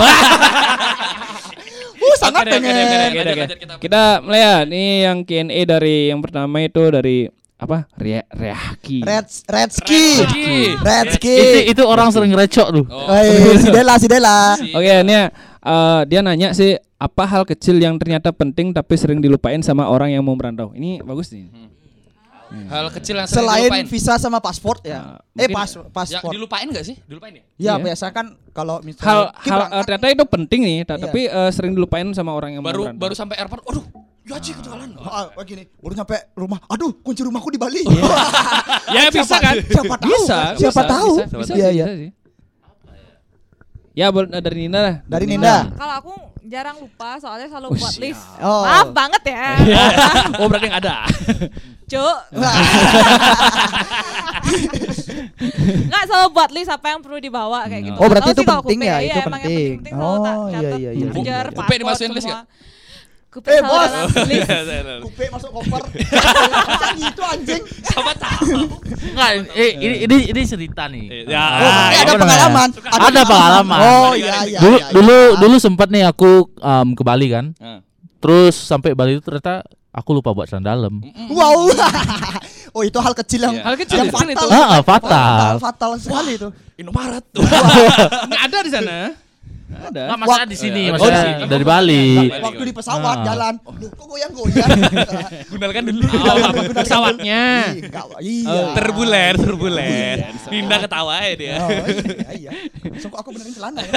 S4: Uh, sangat
S3: Oke deh, oke deh, oke deh.
S4: pengen.
S2: Oke,
S3: Lanjut,
S2: oke.
S3: lanjut, kita-
S2: Kita mulai ya. Nih yang Q&A dari yang pertama itu dari apa? Ria Riaki.
S4: Red Redski.
S3: Redski.
S4: Redski.
S5: Itu itu orang sering recok tuh.
S4: Oh. Woi, si Dela, si Dela.
S2: Oke, ini ya, eh, dia nanya sih apa hal kecil yang ternyata penting tapi sering dilupain sama orang yang mau merantau. Ini bagus nih.
S3: Hmm. Hal kecil yang sering
S4: Selain
S3: dilupain.
S4: visa sama paspor ya.
S2: Ya,
S4: eh,
S2: mungkin-
S4: pas
S3: Ya,
S4: paspor.
S3: dilupain enggak sih? Dilupain ya?
S4: Ya,
S2: Iya.
S4: biasa kan kalau misalnya kan
S2: Hal
S4: Ki
S2: hal eh,
S4: berangkat,
S2: ternyata itu penting nih, ta-
S4: Iya.
S2: tapi eh, sering dilupain sama orang yang mau
S3: Baru
S2: merantau.
S3: baru sampai airport. Aduh, Yaji ketinggalan.
S4: Ah, ah, gini, baru nyampe rumah. Aduh, kunci rumahku di Bali.
S2: ya Iya. bisa kan?
S4: siapa tahu?
S2: Bisa.
S4: kan? siapa
S2: bisa,
S4: tahu?
S2: Bisa, bisa,
S4: Iya,
S2: sih,
S4: iya.
S2: bisa sih. Ya bol- eh, dari Nina lah.
S4: Dari
S6: Kalau-
S4: Ninda.
S6: Kalau aku jarang lupa, soalnya selalu buat list.
S4: Oh.
S6: Maaf banget ya.
S8: Iya.
S2: oh berarti nggak ada.
S6: Cuk. Enggak selalu buat list apa yang perlu dibawa
S3: Iya.
S6: kayak gitu.
S8: Oh,
S6: Nggak
S8: berarti
S6: tahu
S8: itu
S6: sih kalau
S8: penting
S6: kupe.
S8: ya,
S6: Iya,
S8: itu
S6: emang yang
S8: penting.
S6: penting selalu tak
S8: Oh, iya,
S6: catat.
S8: iya, Eh, iya, iya.
S6: charger,
S3: Kupe
S6: password
S3: dimasukin list ya?
S6: semua.
S3: nggak?
S6: Kupe selalu
S4: bos!
S6: dalam list.
S4: Kupe masuk koper. itu anjing.
S3: Siapa tahu?
S5: Enggak, eh, ini, ini ini cerita nih.
S3: Ya.
S2: Ah,
S4: Oh, berarti ada
S5: iya.
S4: pengalaman.
S5: Ada pengalaman.
S4: Oh iya
S3: Ya,
S4: iya.
S5: Dulu
S4: iya, iya.
S5: dulu dulu sempat nih aku em, ke Bali kan.
S3: Ah.
S5: Terus sampai Bali itu ternyata aku lupa bawa celana dalam.
S4: Wow. oh itu hal kecil
S3: Iya.
S4: yang
S2: Hal kecil
S4: yang
S2: itu.
S4: fatal. Oh,
S5: Ah,
S4: fatal.
S5: ah, fatal.
S4: Fatal sekali itu.
S3: Indomaret.
S2: Nggak ada di sana. Nggak ada.
S5: Enggak masalah di sini,
S3: iya. Oh,
S5: masalah
S3: di sini.
S5: dari Bali.
S2: Iya.
S3: Balik,
S4: Waktu di
S3: balik.
S4: pesawat
S2: Nah.
S5: Ah.
S4: jalan, Loh, kok goyang-goyang?
S3: Gunakan dulu.
S2: Oh, pesawatnya. Oh,
S4: Ih, nggak- Iya.
S3: Terbulen, terbulen. Ninda ketawa ya dia.
S4: Oh, iya, iya. Langsung kok aku benerin celana ya.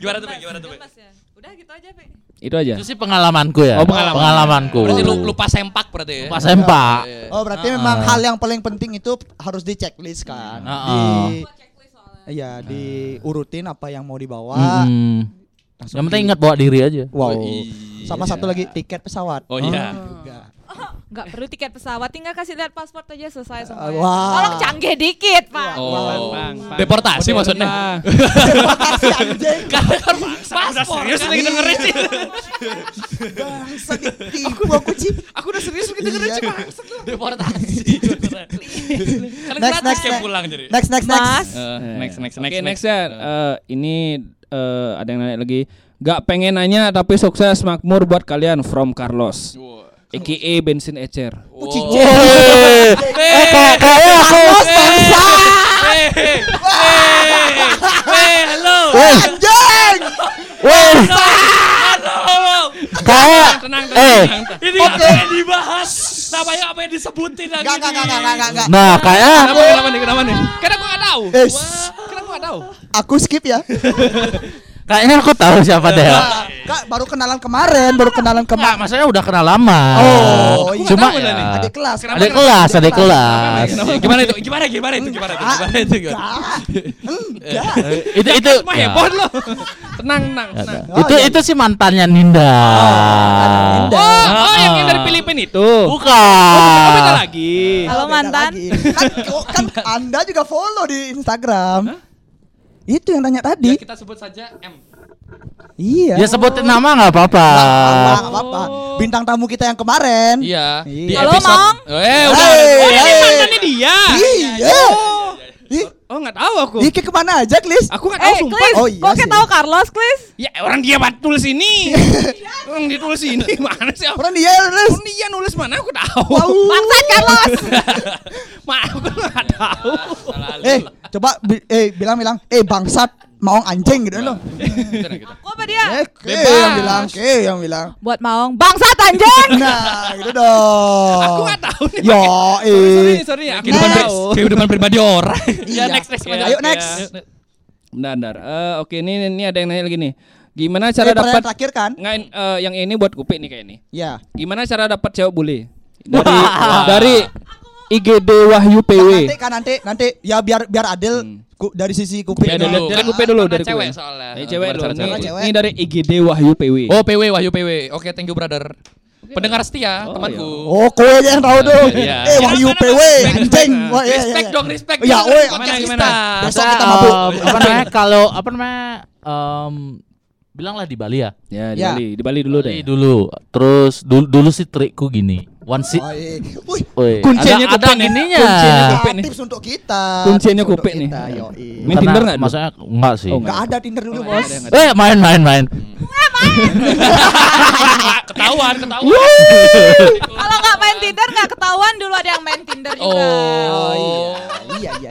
S3: Gimana tuh, Pe? Gimana tuh, Pe?
S6: Mas ya. Udah gitu aja, Pak.
S2: Itu aja.
S5: Itu sih pengalamanku
S2: Oh,
S5: ya.
S2: pengalaman.
S5: Pengalamanku.
S3: Berarti lu lupa sempak berarti ya.
S5: Lupa sempak.
S3: Iya.
S4: Oh berarti
S5: Ah.
S4: memang hal yang paling penting itu harus di checklist kan.
S5: Ah,
S4: Di
S6: Gua checklist soalnya.
S4: iya diurutin apa yang mau dibawa.
S5: Mm-mm.
S4: langsung
S5: Yang penting
S4: di-
S5: ingat bawa diri aja.
S4: Wow.
S3: Oh, iya.
S4: Sama satu lagi tiket pesawat. Ah,
S3: Oh iya.
S4: Juga.
S6: Enggak perlu tiket pesawat, tinggal kasih lihat paspor aja
S8: Ah,
S6: selesai semuanya.
S4: wah.
S6: Tolong canggih dikit, Pak.
S3: Oh.
S2: Bang, bang.
S3: Deportasi maksudnya.
S4: Makasih anjing.
S3: Udah serius nih dengerin sih.
S4: Bangsa ditipu aku Ci.
S2: Aku udah serius begitu
S4: Iya.
S2: dengerin sih, Bang.
S3: Deportasi. Kan
S4: Next,
S3: gratis
S4: next,
S3: kayak
S4: next.
S3: pulang jadi.
S4: Next next
S6: Mas,
S4: next.
S3: Eh, Next, next, next,
S2: Oke, next ya. Eh, ini eh, ada yang nanya lagi. Gak pengen nanya tapi sukses makmur buat kalian from Carlos. Oh, Aka bensin ecer.
S4: Kucing.
S5: Eh, kayak kayak aku.
S3: eh, Hei, halo.
S4: Anjing.
S5: Woi,
S3: Halo.
S5: kayak
S3: Tenang,
S5: eh.
S3: tenang. Ini apa yang dibahas? Namanya apa yang disebutin lagi?
S4: Enggak enggak
S3: nih?
S4: enggak enggak enggak.
S5: Nah, kayak
S2: Kenapa kenapa nih? Kenapa nih? Karena gua gak tahu.
S4: Eh,
S2: Karena gua gak tahu.
S4: aku skip ya.
S5: kayaknya aku tahu siapa deh.
S3: Nah.
S4: Kak, baru kenalan kemarin, baru kenalan
S5: Enggak,
S4: kemarin.
S5: maksudnya udah kenal lama.
S4: Oh, iya.
S5: cuma
S2: Aku nggak tahu
S5: ya,
S4: Adik kelas.
S5: ada kelas, ada kelas.
S3: Kenapa? Gimana itu? Gimana gimana itu? Gimana itu? Gimana itu? Gimana itu?
S4: Enggak.
S5: Itu itu
S3: kan
S2: Mah
S5: ya.
S2: heboh lo. Tenang, tenang, tenang.
S4: Oh,
S5: itu
S4: iya. Oh,
S5: itu sih mantannya Ninda.
S4: Indah.
S2: Oh,
S3: Ah,
S2: oh yang yang dari Filipina itu.
S5: Ah.
S2: Oh, beda
S5: Bukan.
S3: Eh.
S2: lagi.
S6: Halo,
S4: Beda
S6: mantan.
S4: lagi. Kan, kok- kan Anda juga follow di Instagram. Itu yang tanya
S2: Ya,
S4: tadi.
S3: Ya, Kita sebut saja M.
S4: Iya. Ah,
S5: Ya Ah. sebutin nama nggak apa-apa.
S4: Nggak apa-apa. Bintang tamu kita yang kemarin.
S3: Iya. Di
S4: Halo,
S3: episode-
S6: Mong.
S3: Eh,
S4: Hey,
S3: udah.
S2: Ini
S4: hey.
S2: mantannya dia.
S4: Iya. Ih,
S2: Oh, gak tahu aku.
S4: Ih, ke kemana aja, Klis?
S2: Aku gak tahu
S6: eh,
S2: sumpah.
S6: Klis,
S4: Oh, iya
S6: kok
S4: sih.
S6: kita tahu Carlos, Klis?
S2: Ya orang dia buat tulis ini. orang dia tulis ini. Mana sih? Orang
S4: Orang dia, Klis.
S2: dia nulis mana aku tahu.
S4: Wow.
S6: Bangsat Carlos.
S2: Mana aku
S3: Iya,
S2: nggak tahu.
S4: Eh, coba bi- eh bilang-bilang, eh bangsat, mau anjing gitu loh.
S6: Aku apa dia?
S4: Eh, ke yang bilang, ke yang bilang.
S6: Buat Maong. Bangsat anjing.
S4: Nah, gitu dong.
S2: Aku nggak tahu nih.
S4: Oh. Yo,
S2: Sorry, sorry,
S4: eh.
S2: sorry, aku
S4: Kehidupan
S2: nggak
S4: pri-
S2: tahu.
S3: Kehidupan pribadi orang.
S4: Iya, next
S3: next
S4: Ayo next.
S2: Iya. Bentar, bentar. Eh, oke, ini ini ada yang nanya lagi nih. Gimana cara
S4: Cara
S2: dapat
S4: terakhir kan?
S2: nggak eh, yang ini buat kupik nih kayak ini.
S4: Ya.
S2: Gimana cara dapat cewek bule? Dari dari IGD Wahyu PW.
S4: Nanti kan nanti nanti ya biar biar adil ku- dari sisi kuping.
S2: Ya, dari,
S3: dulu.
S2: dari
S3: Kan
S2: kupik dulu
S3: karena
S2: dari
S3: cewek
S2: kupik.
S3: soalnya.
S2: Dari
S3: Eh,
S2: cewek
S3: gimana
S2: dulu.
S3: cara
S2: Ini,
S4: cewek?
S2: ini dari IGD Wahyu PW.
S3: Oh, PW Wahyu PW. Oke, thank you brother. Pendengar setia, temanku.
S4: Oh, kowe aja yang tahu dong.
S3: Iya.
S4: Eh, Wahyu
S3: Gimana,
S4: PW,
S3: Bang?
S4: anjing. Wah, iya, iya,
S3: Respect
S4: iya.
S3: dong, respect.
S4: Ya,
S3: dong,
S4: woi.
S3: podcast
S2: Gimana,
S3: kita.
S4: Besok
S5: Masa,
S4: kita mabuk.
S5: em, Nah, apa namanya kalau apa namanya em, bilanglah di Bali ya.
S2: Ya, di
S4: Ya.
S2: Bali, di Bali dulu deh.
S5: Bali dulu. Terus dulu, dulu sih trikku gini. One seat.
S4: Oh, iya. Wih,
S5: Woi,
S2: Kuncinya
S5: ada, ada
S2: kuping ya.
S5: ininya.
S2: Kuncinya kuping. Kupik nih.
S4: tips untuk kita.
S2: Kuncinya
S4: Tips untuk
S2: kupik nih.
S4: kita, yoi.
S2: Main
S5: Karena
S2: Tinder nggak dulu?
S5: Maksudnya enggak sih.
S2: Oh,
S4: Nggak ada Tinder dulu, Bos.
S5: Eh, main main main.
S2: Hmm.
S3: Oh. Ketahuan, ketahuan.
S6: Kalau nggak main Tinder nggak ketahuan dulu ada yang main Tinder juga.
S3: Oh, iya.
S4: Iya, iya.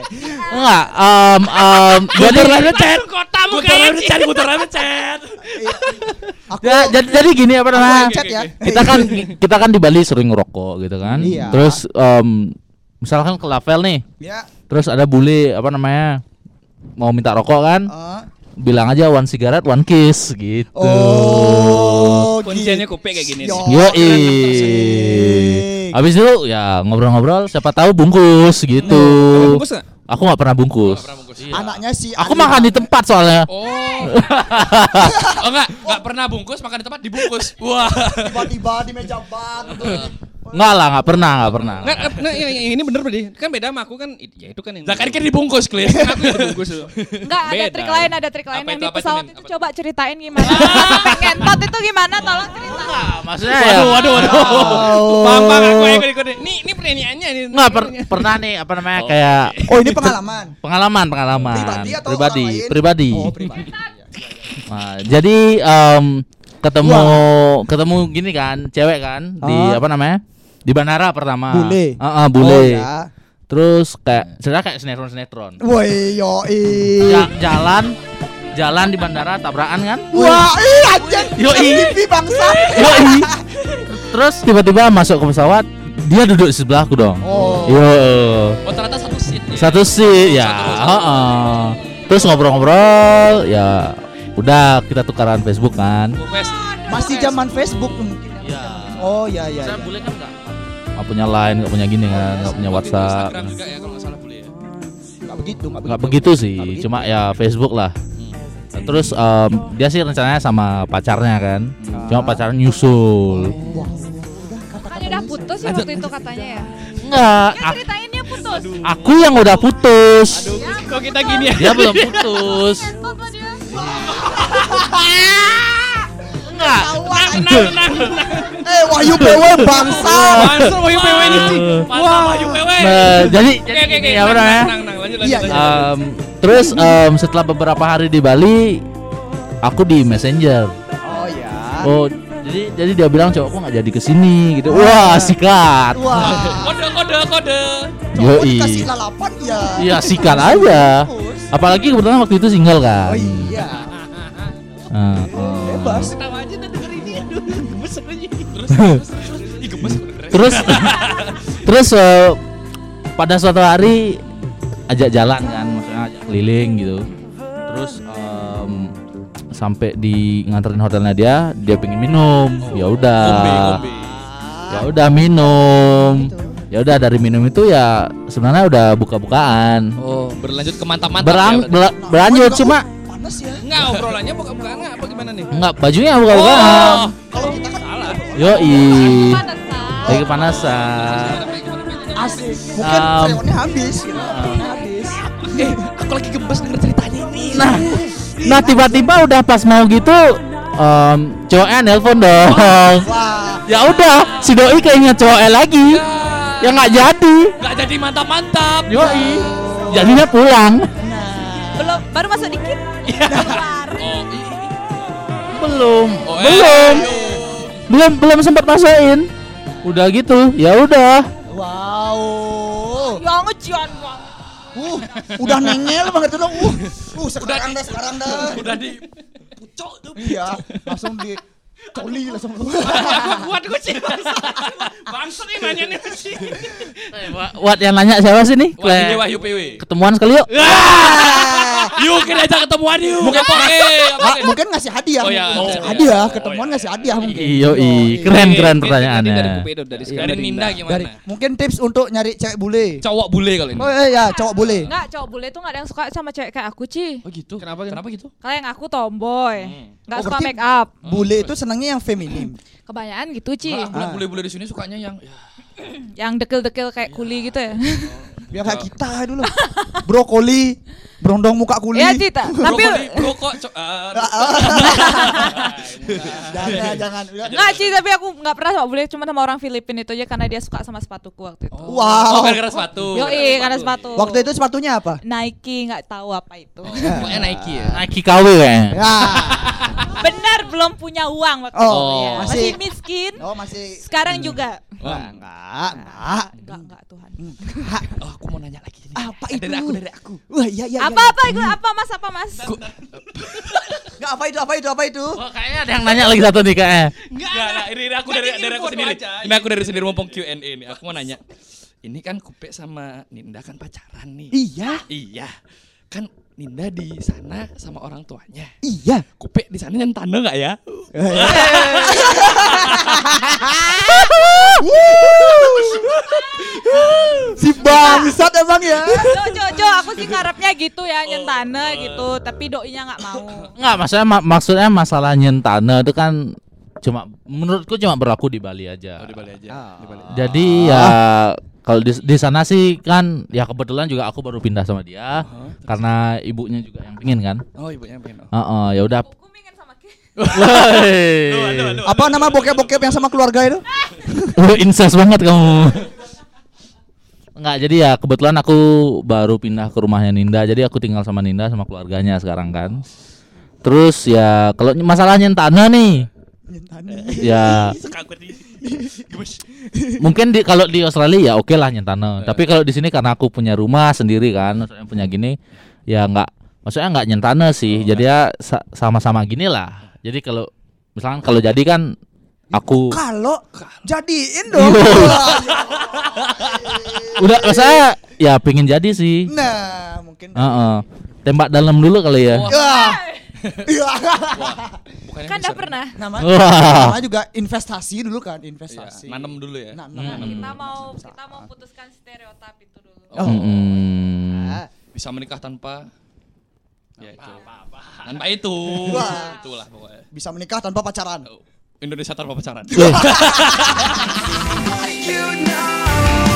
S5: Enggak. em em jadi
S3: Kamu kayaknya cari putaran chat.
S4: Aku
S5: Ya, jadi, jadi gini apa
S4: aku
S5: namanya?
S4: yang chat ya.
S5: Kita kan kita kan di Bali sering ngerokok gitu kan.
S4: Iya.
S5: Terus em, misalkan ke Lavel nih,
S4: Ya.
S5: terus ada bule apa namanya? mau minta rokok kan?
S4: eh.
S5: Bilang aja one cigarette, one kiss gitu.
S4: Oh,
S2: Kuncinya
S4: gitu.
S2: kupik kayak gini.
S4: Yo.
S5: Yo
S4: Asik.
S5: Habis itu ya ngobrol-ngobrol, siapa tahu bungkus gitu.
S2: Bungkus nggak?
S5: Aku nggak pernah bungkus.
S4: Anaknya si
S5: Aku
S4: Alina.
S5: makan di tempat soalnya.
S3: Oh. oh enggak, enggak pernah bungkus, makan di tempat dibungkus. Wah.
S4: tiba-tiba di meja bar gitu.
S5: Enggak lah, enggak pernah, enggak pernah.
S2: Nggak, nah, yang- yang ini bener berarti kan beda sama aku kan i- ya itu kan yang
S3: Lah kan kan dibungkus, Klis.
S2: aku yang bungkus dulu.
S6: Enggak, ada
S3: Beda.
S6: trik lain, ada trik lain
S3: Apa
S6: yang
S3: itu, apa
S6: di
S3: itu,
S6: pesawat
S3: Min?
S6: itu,
S3: Apa itu?
S6: coba ceritain gimana. Sampai Ngentot itu gimana? Tolong cerita.
S5: Maksudnya ya,
S3: waduh, waduh. Paham, paham, Kan aku ya, yang ikut-ikut. Nih, ini pertanyaannya nih.
S5: enggak per-
S4: Iya.
S5: pernah nih apa namanya kayak
S4: Oh ini pengalaman.
S5: pengalaman, pengalaman
S4: Pribadi atau
S5: iya. pribadi,
S4: orang lain?
S5: pribadi.
S4: Oh pribadi.
S5: Nah, jadi em, ketemu ketemu gini kan, cewek kan di
S4: Ah.
S5: apa namanya? Di bandara pertama.
S4: Bule.
S5: Heeh, Ah. bule.
S4: Oh, ya.
S5: Terus kayak cerita kayak sinetron-sinetron.
S4: Oh, Woi yoi. iya.
S5: Ja- jalan jalan di bandara tabrakan kan?
S4: Wah, ih anjing.
S5: Yoi.
S4: Yoi bangsa. iya.
S5: Yoi. Terus tiba-tiba masuk ke pesawat, dia duduk di sebelahku dong.
S4: Oh.
S5: Yo.
S3: Oh, ternyata satu seat. ya?
S5: Satu sih ya.
S3: Satu, satu.
S5: heeh. Terus ngobrol-ngobrol, ya udah kita tukaran Facebook kan.
S3: Wes.
S4: Masih zaman Facebook mungkin.
S5: Iya.
S4: Oh ya ya. ya.
S5: kan enggak? punya line, enggak punya gini kan, enggak punya WhatsApp.
S3: Instagram juga ya kalau nggak salah boleh ya.
S4: Enggak begitu, enggak
S5: Enggak
S4: begitu.
S5: begitu sih,
S4: Nggak begitu.
S5: cuma ya Facebook lah. Terus em, dia sih rencananya sama pacarnya kan. Cuma pacarnya nyusul.
S6: Makanya udah putus ya waktu itu katanya ya.
S5: Enggak,
S6: Kan ceritainnya putus.
S5: aku yang udah putus.
S3: Kok kita gini ya?
S5: Dia belum putus.
S6: Ngentot lah dia.
S5: Enggak.
S4: Eh, Wahyu PW bangsa.
S3: Langsung Wahyu PW ini sih. Mantap Wahyu PW.
S5: Nah, jadi ya.
S3: Oke, oke, oke.
S5: jadi apa namanya?
S3: Tenang, tenang, lanjut,
S4: Iya,
S3: lanjut.
S4: iya.
S5: Em, terus em, setelah beberapa hari di Bali, aku di Messenger.
S4: Oh ya.
S5: Oh, jadi jadi dia bilang cowok kok nggak jadi kesini gitu. Wah, sikat.
S4: Iya. Wah.
S3: Kode, kode, kode.
S4: Cowok
S5: Yoi.
S4: dikasih lalapan ya.
S5: Iya, sikat aja.
S4: Terus.
S5: Apalagi kebetulan waktu itu single kan. Nah, oh.
S4: Oh iya.
S5: Heeh.
S4: Bebas.
S3: Ih, gemes.
S5: Terus terus eh, pada suatu hari ajak jalan kan, maksudnya ajak keliling gitu. Terus em, sampai di nganterin hotelnya dia, dia pengen minum.
S3: Oh,
S5: Ya udah.
S3: Kombe, kombe.
S5: ya udah minum ya udah dari minum itu ya sebenarnya udah buka-bukaan
S3: Oh, berlanjut ke mantap-mantap. ya,
S5: Beran,
S3: berarti.
S5: bela- berlanjut
S4: Gua juga,
S5: cuma
S4: uh, panas ya.
S2: Enggak obrolannya buka-bukaan enggak apa gimana
S3: Oh,
S2: nih?
S5: nggak bajunya buka-bukaan
S4: Kalau kita kan
S5: yoi
S6: Pantesan.
S5: lagi kepanasan
S4: asik. Mungkin
S5: Um,
S4: freonnya habis gitu. Freonnya habis.
S3: Eh, Aku lagi gemes denger ceritanya ini.
S5: nah nah tiba-tiba udah pas mau gitu em cowoknya nelpon dong
S4: Wah.
S5: ya udah si doi keinget cowoknya lagi ya nggak jadi
S3: Gak jadi mantap-mantap.
S5: yoi jadinya pulang
S6: Belum baru masuk dikit.
S3: Iya.
S6: Keluar.
S5: belum
S3: Oh, eh.
S5: belum belum belum sempat masukin udah gitu ya udah
S4: Wow.
S6: Ya ngejian gua.
S4: Uh, udah nengel banget tuh. Uh, uh sekarang dah sekarang dah.
S3: Udah di pucuk tuh.
S4: Iya, langsung di coli langsung.
S3: Eh, Buat gue sih. Bangsa nih nanya nih sih.
S5: Wat yang nanya siapa sih nih?
S3: Wah, ini
S5: Kle-
S3: Wahyu PW.
S5: Ketemuan sekali yuk.
S3: Yuk kita ajak ketemuan yuk. Eh, Bukan
S4: Ah, mungkin ngasih hadiah.
S3: Oh, iya.
S4: mungkin
S3: Oh,
S4: ngasih
S3: iya.
S4: hadiah,
S3: Oh,
S4: ketemuan
S3: iya.
S4: ngasih hadiah mungkin.
S5: Iyo i, keren keren
S2: Ini dari
S5: pertanyaannya.
S2: Kupedo dari
S3: Dari Ninda
S4: Iya, Dari,
S3: gimana?
S4: mungkin tips untuk nyari cewek bule.
S3: Cowok bule kalau ini.
S4: Oh iya, iya, cowok bule.
S6: Enggak, cowok bule tuh enggak ada yang suka sama cewek kayak aku, Ci.
S3: Oh gitu. Kenapa Kenapa gitu?
S6: Kayak yang aku tomboy.
S3: Hmm.
S6: Enggak
S4: Oh,
S6: suka
S4: berarti-
S6: make up.
S4: Bule itu senangnya yang feminim.
S6: Kebanyakan gitu, Ci.
S4: Ah. Iya.
S3: Bule-bule di sini sukanya yang ya,
S6: Yang dekil-dekil kayak
S3: Iya.
S6: kuli gitu ya.
S3: Oh.
S4: Biar kayak kita dulu. Brokoli, brondong muka kuli.
S6: Iya, Ci. ta- Tapi
S3: brokoli, brokok, co- ah, Iya.
S4: jangan, jangan.
S6: Nggak Ci, tapi aku nggak pernah sama bule, cuma sama orang Filipina itu aja karena dia suka sama sepatuku waktu itu.
S3: Oh,
S4: Wow.
S3: gara-gara Oh, sepatu.
S6: Yoi, karena sepatu.
S4: Waktu itu sepatunya apa?
S6: Nike nggak tahu apa itu.
S3: Pokoknya Nike
S4: Iya.
S3: ya.
S5: Nike KW kayaknya.
S4: Ya.
S6: Benar belum punya uang waktu
S4: Oh,
S6: itu. ya.
S4: masih-
S6: Masih miskin.
S4: Oh, masih Nah.
S6: Sekarang juga.
S4: Wah, enggak, enggak.
S6: Enggak, enggak Tuhan.
S4: Hmm.
S3: Oh, aku mau nanya lagi ini.
S4: Apa itu?
S3: Dari aku, dari aku.
S4: Wah, iya iya. iya,
S6: Apa
S4: iya.
S6: apa itu? Apa Mas? Apa Mas?
S4: Enggak apa itu? Apa itu? Apa itu?
S5: Oh, kayaknya ada yang nanya lagi satu nih kayaknya.
S3: Enggak, enggak, ini, ini aku dari dari aku sendiri. Ini aku dari sendiri mumpung Q&A nih. Aku mau nanya. Ini kan Kupe sama Ninda kan pacaran nih.
S4: Iya,
S3: Iya. Kan Ninda di sana sama orang tuanya.
S4: iya.
S3: Kupe di sana nyentane enggak ya?
S4: Si bangsat emang ya.
S6: Jo, jo, jo, aku sih ngarepnya gitu ya, nyentane gitu, tapi doinya nggak mau.
S5: Enggak, maksudnya ma- maksudnya masalah nyentane itu kan Cuma menurutku cuma berlaku di Bali
S3: Oh,
S5: aja.
S3: di Bali aja. Di
S4: Ah.
S3: Bali.
S5: Jadi
S2: Ah.
S5: ya kalau di, di sana sih kan ya kebetulan juga aku baru pindah sama dia karena ibunya juga yang pingin kan.
S2: Uh-huh. Oh ibunya yang pengen. Oh.
S5: Heeh, ya udah.
S6: Aku pengen sama Ki.
S5: Woi.
S4: Apa nama bokep-bokep yang sama keluarga itu?
S5: Lu incest banget kamu. Enggak, jadi ya kebetulan aku baru pindah ke rumahnya Ninda. Jadi aku tinggal sama Ninda sama keluarganya sekarang kan. Terus ya kalau masalahnya tanah nih,
S3: Iya.
S5: ya mungkin di kalau di Australia ya oke lah nyentano tapi kalau di sini karena aku punya rumah sendiri kan maksudnya punya gini ya nggak maksudnya nggak nyentano sih jadi ya sa- sama-sama gini lah jadi kalau misalkan kalau jadi kan aku
S4: Kalau
S3: Iya.
S4: jadiin dong.
S5: udah saya ya pengen jadi sih
S4: Nah, mungkin.
S3: Ah.
S5: Heeh. tembak dalam dulu kali ya
S4: Wah. Iya.
S3: Bukannya
S6: Kan udah
S3: bisa-
S6: pernah.
S4: Nama,
S5: Wah.
S4: nama juga investasi dulu kan,
S3: Iya,
S4: investasi. Nah,
S3: nanem dulu ya.
S4: Nanam.
S6: Kita mau kita mau putuskan stereotip itu dulu.
S3: Oh,
S5: Mm-mm.
S3: Bisa menikah tanpa ya itu. Tanpa itu.
S4: Wah.
S3: Itulah pokoknya.
S4: Bisa menikah tanpa pacaran.
S3: Indonesia tanpa pacaran.
S5: Eh.
S8: you know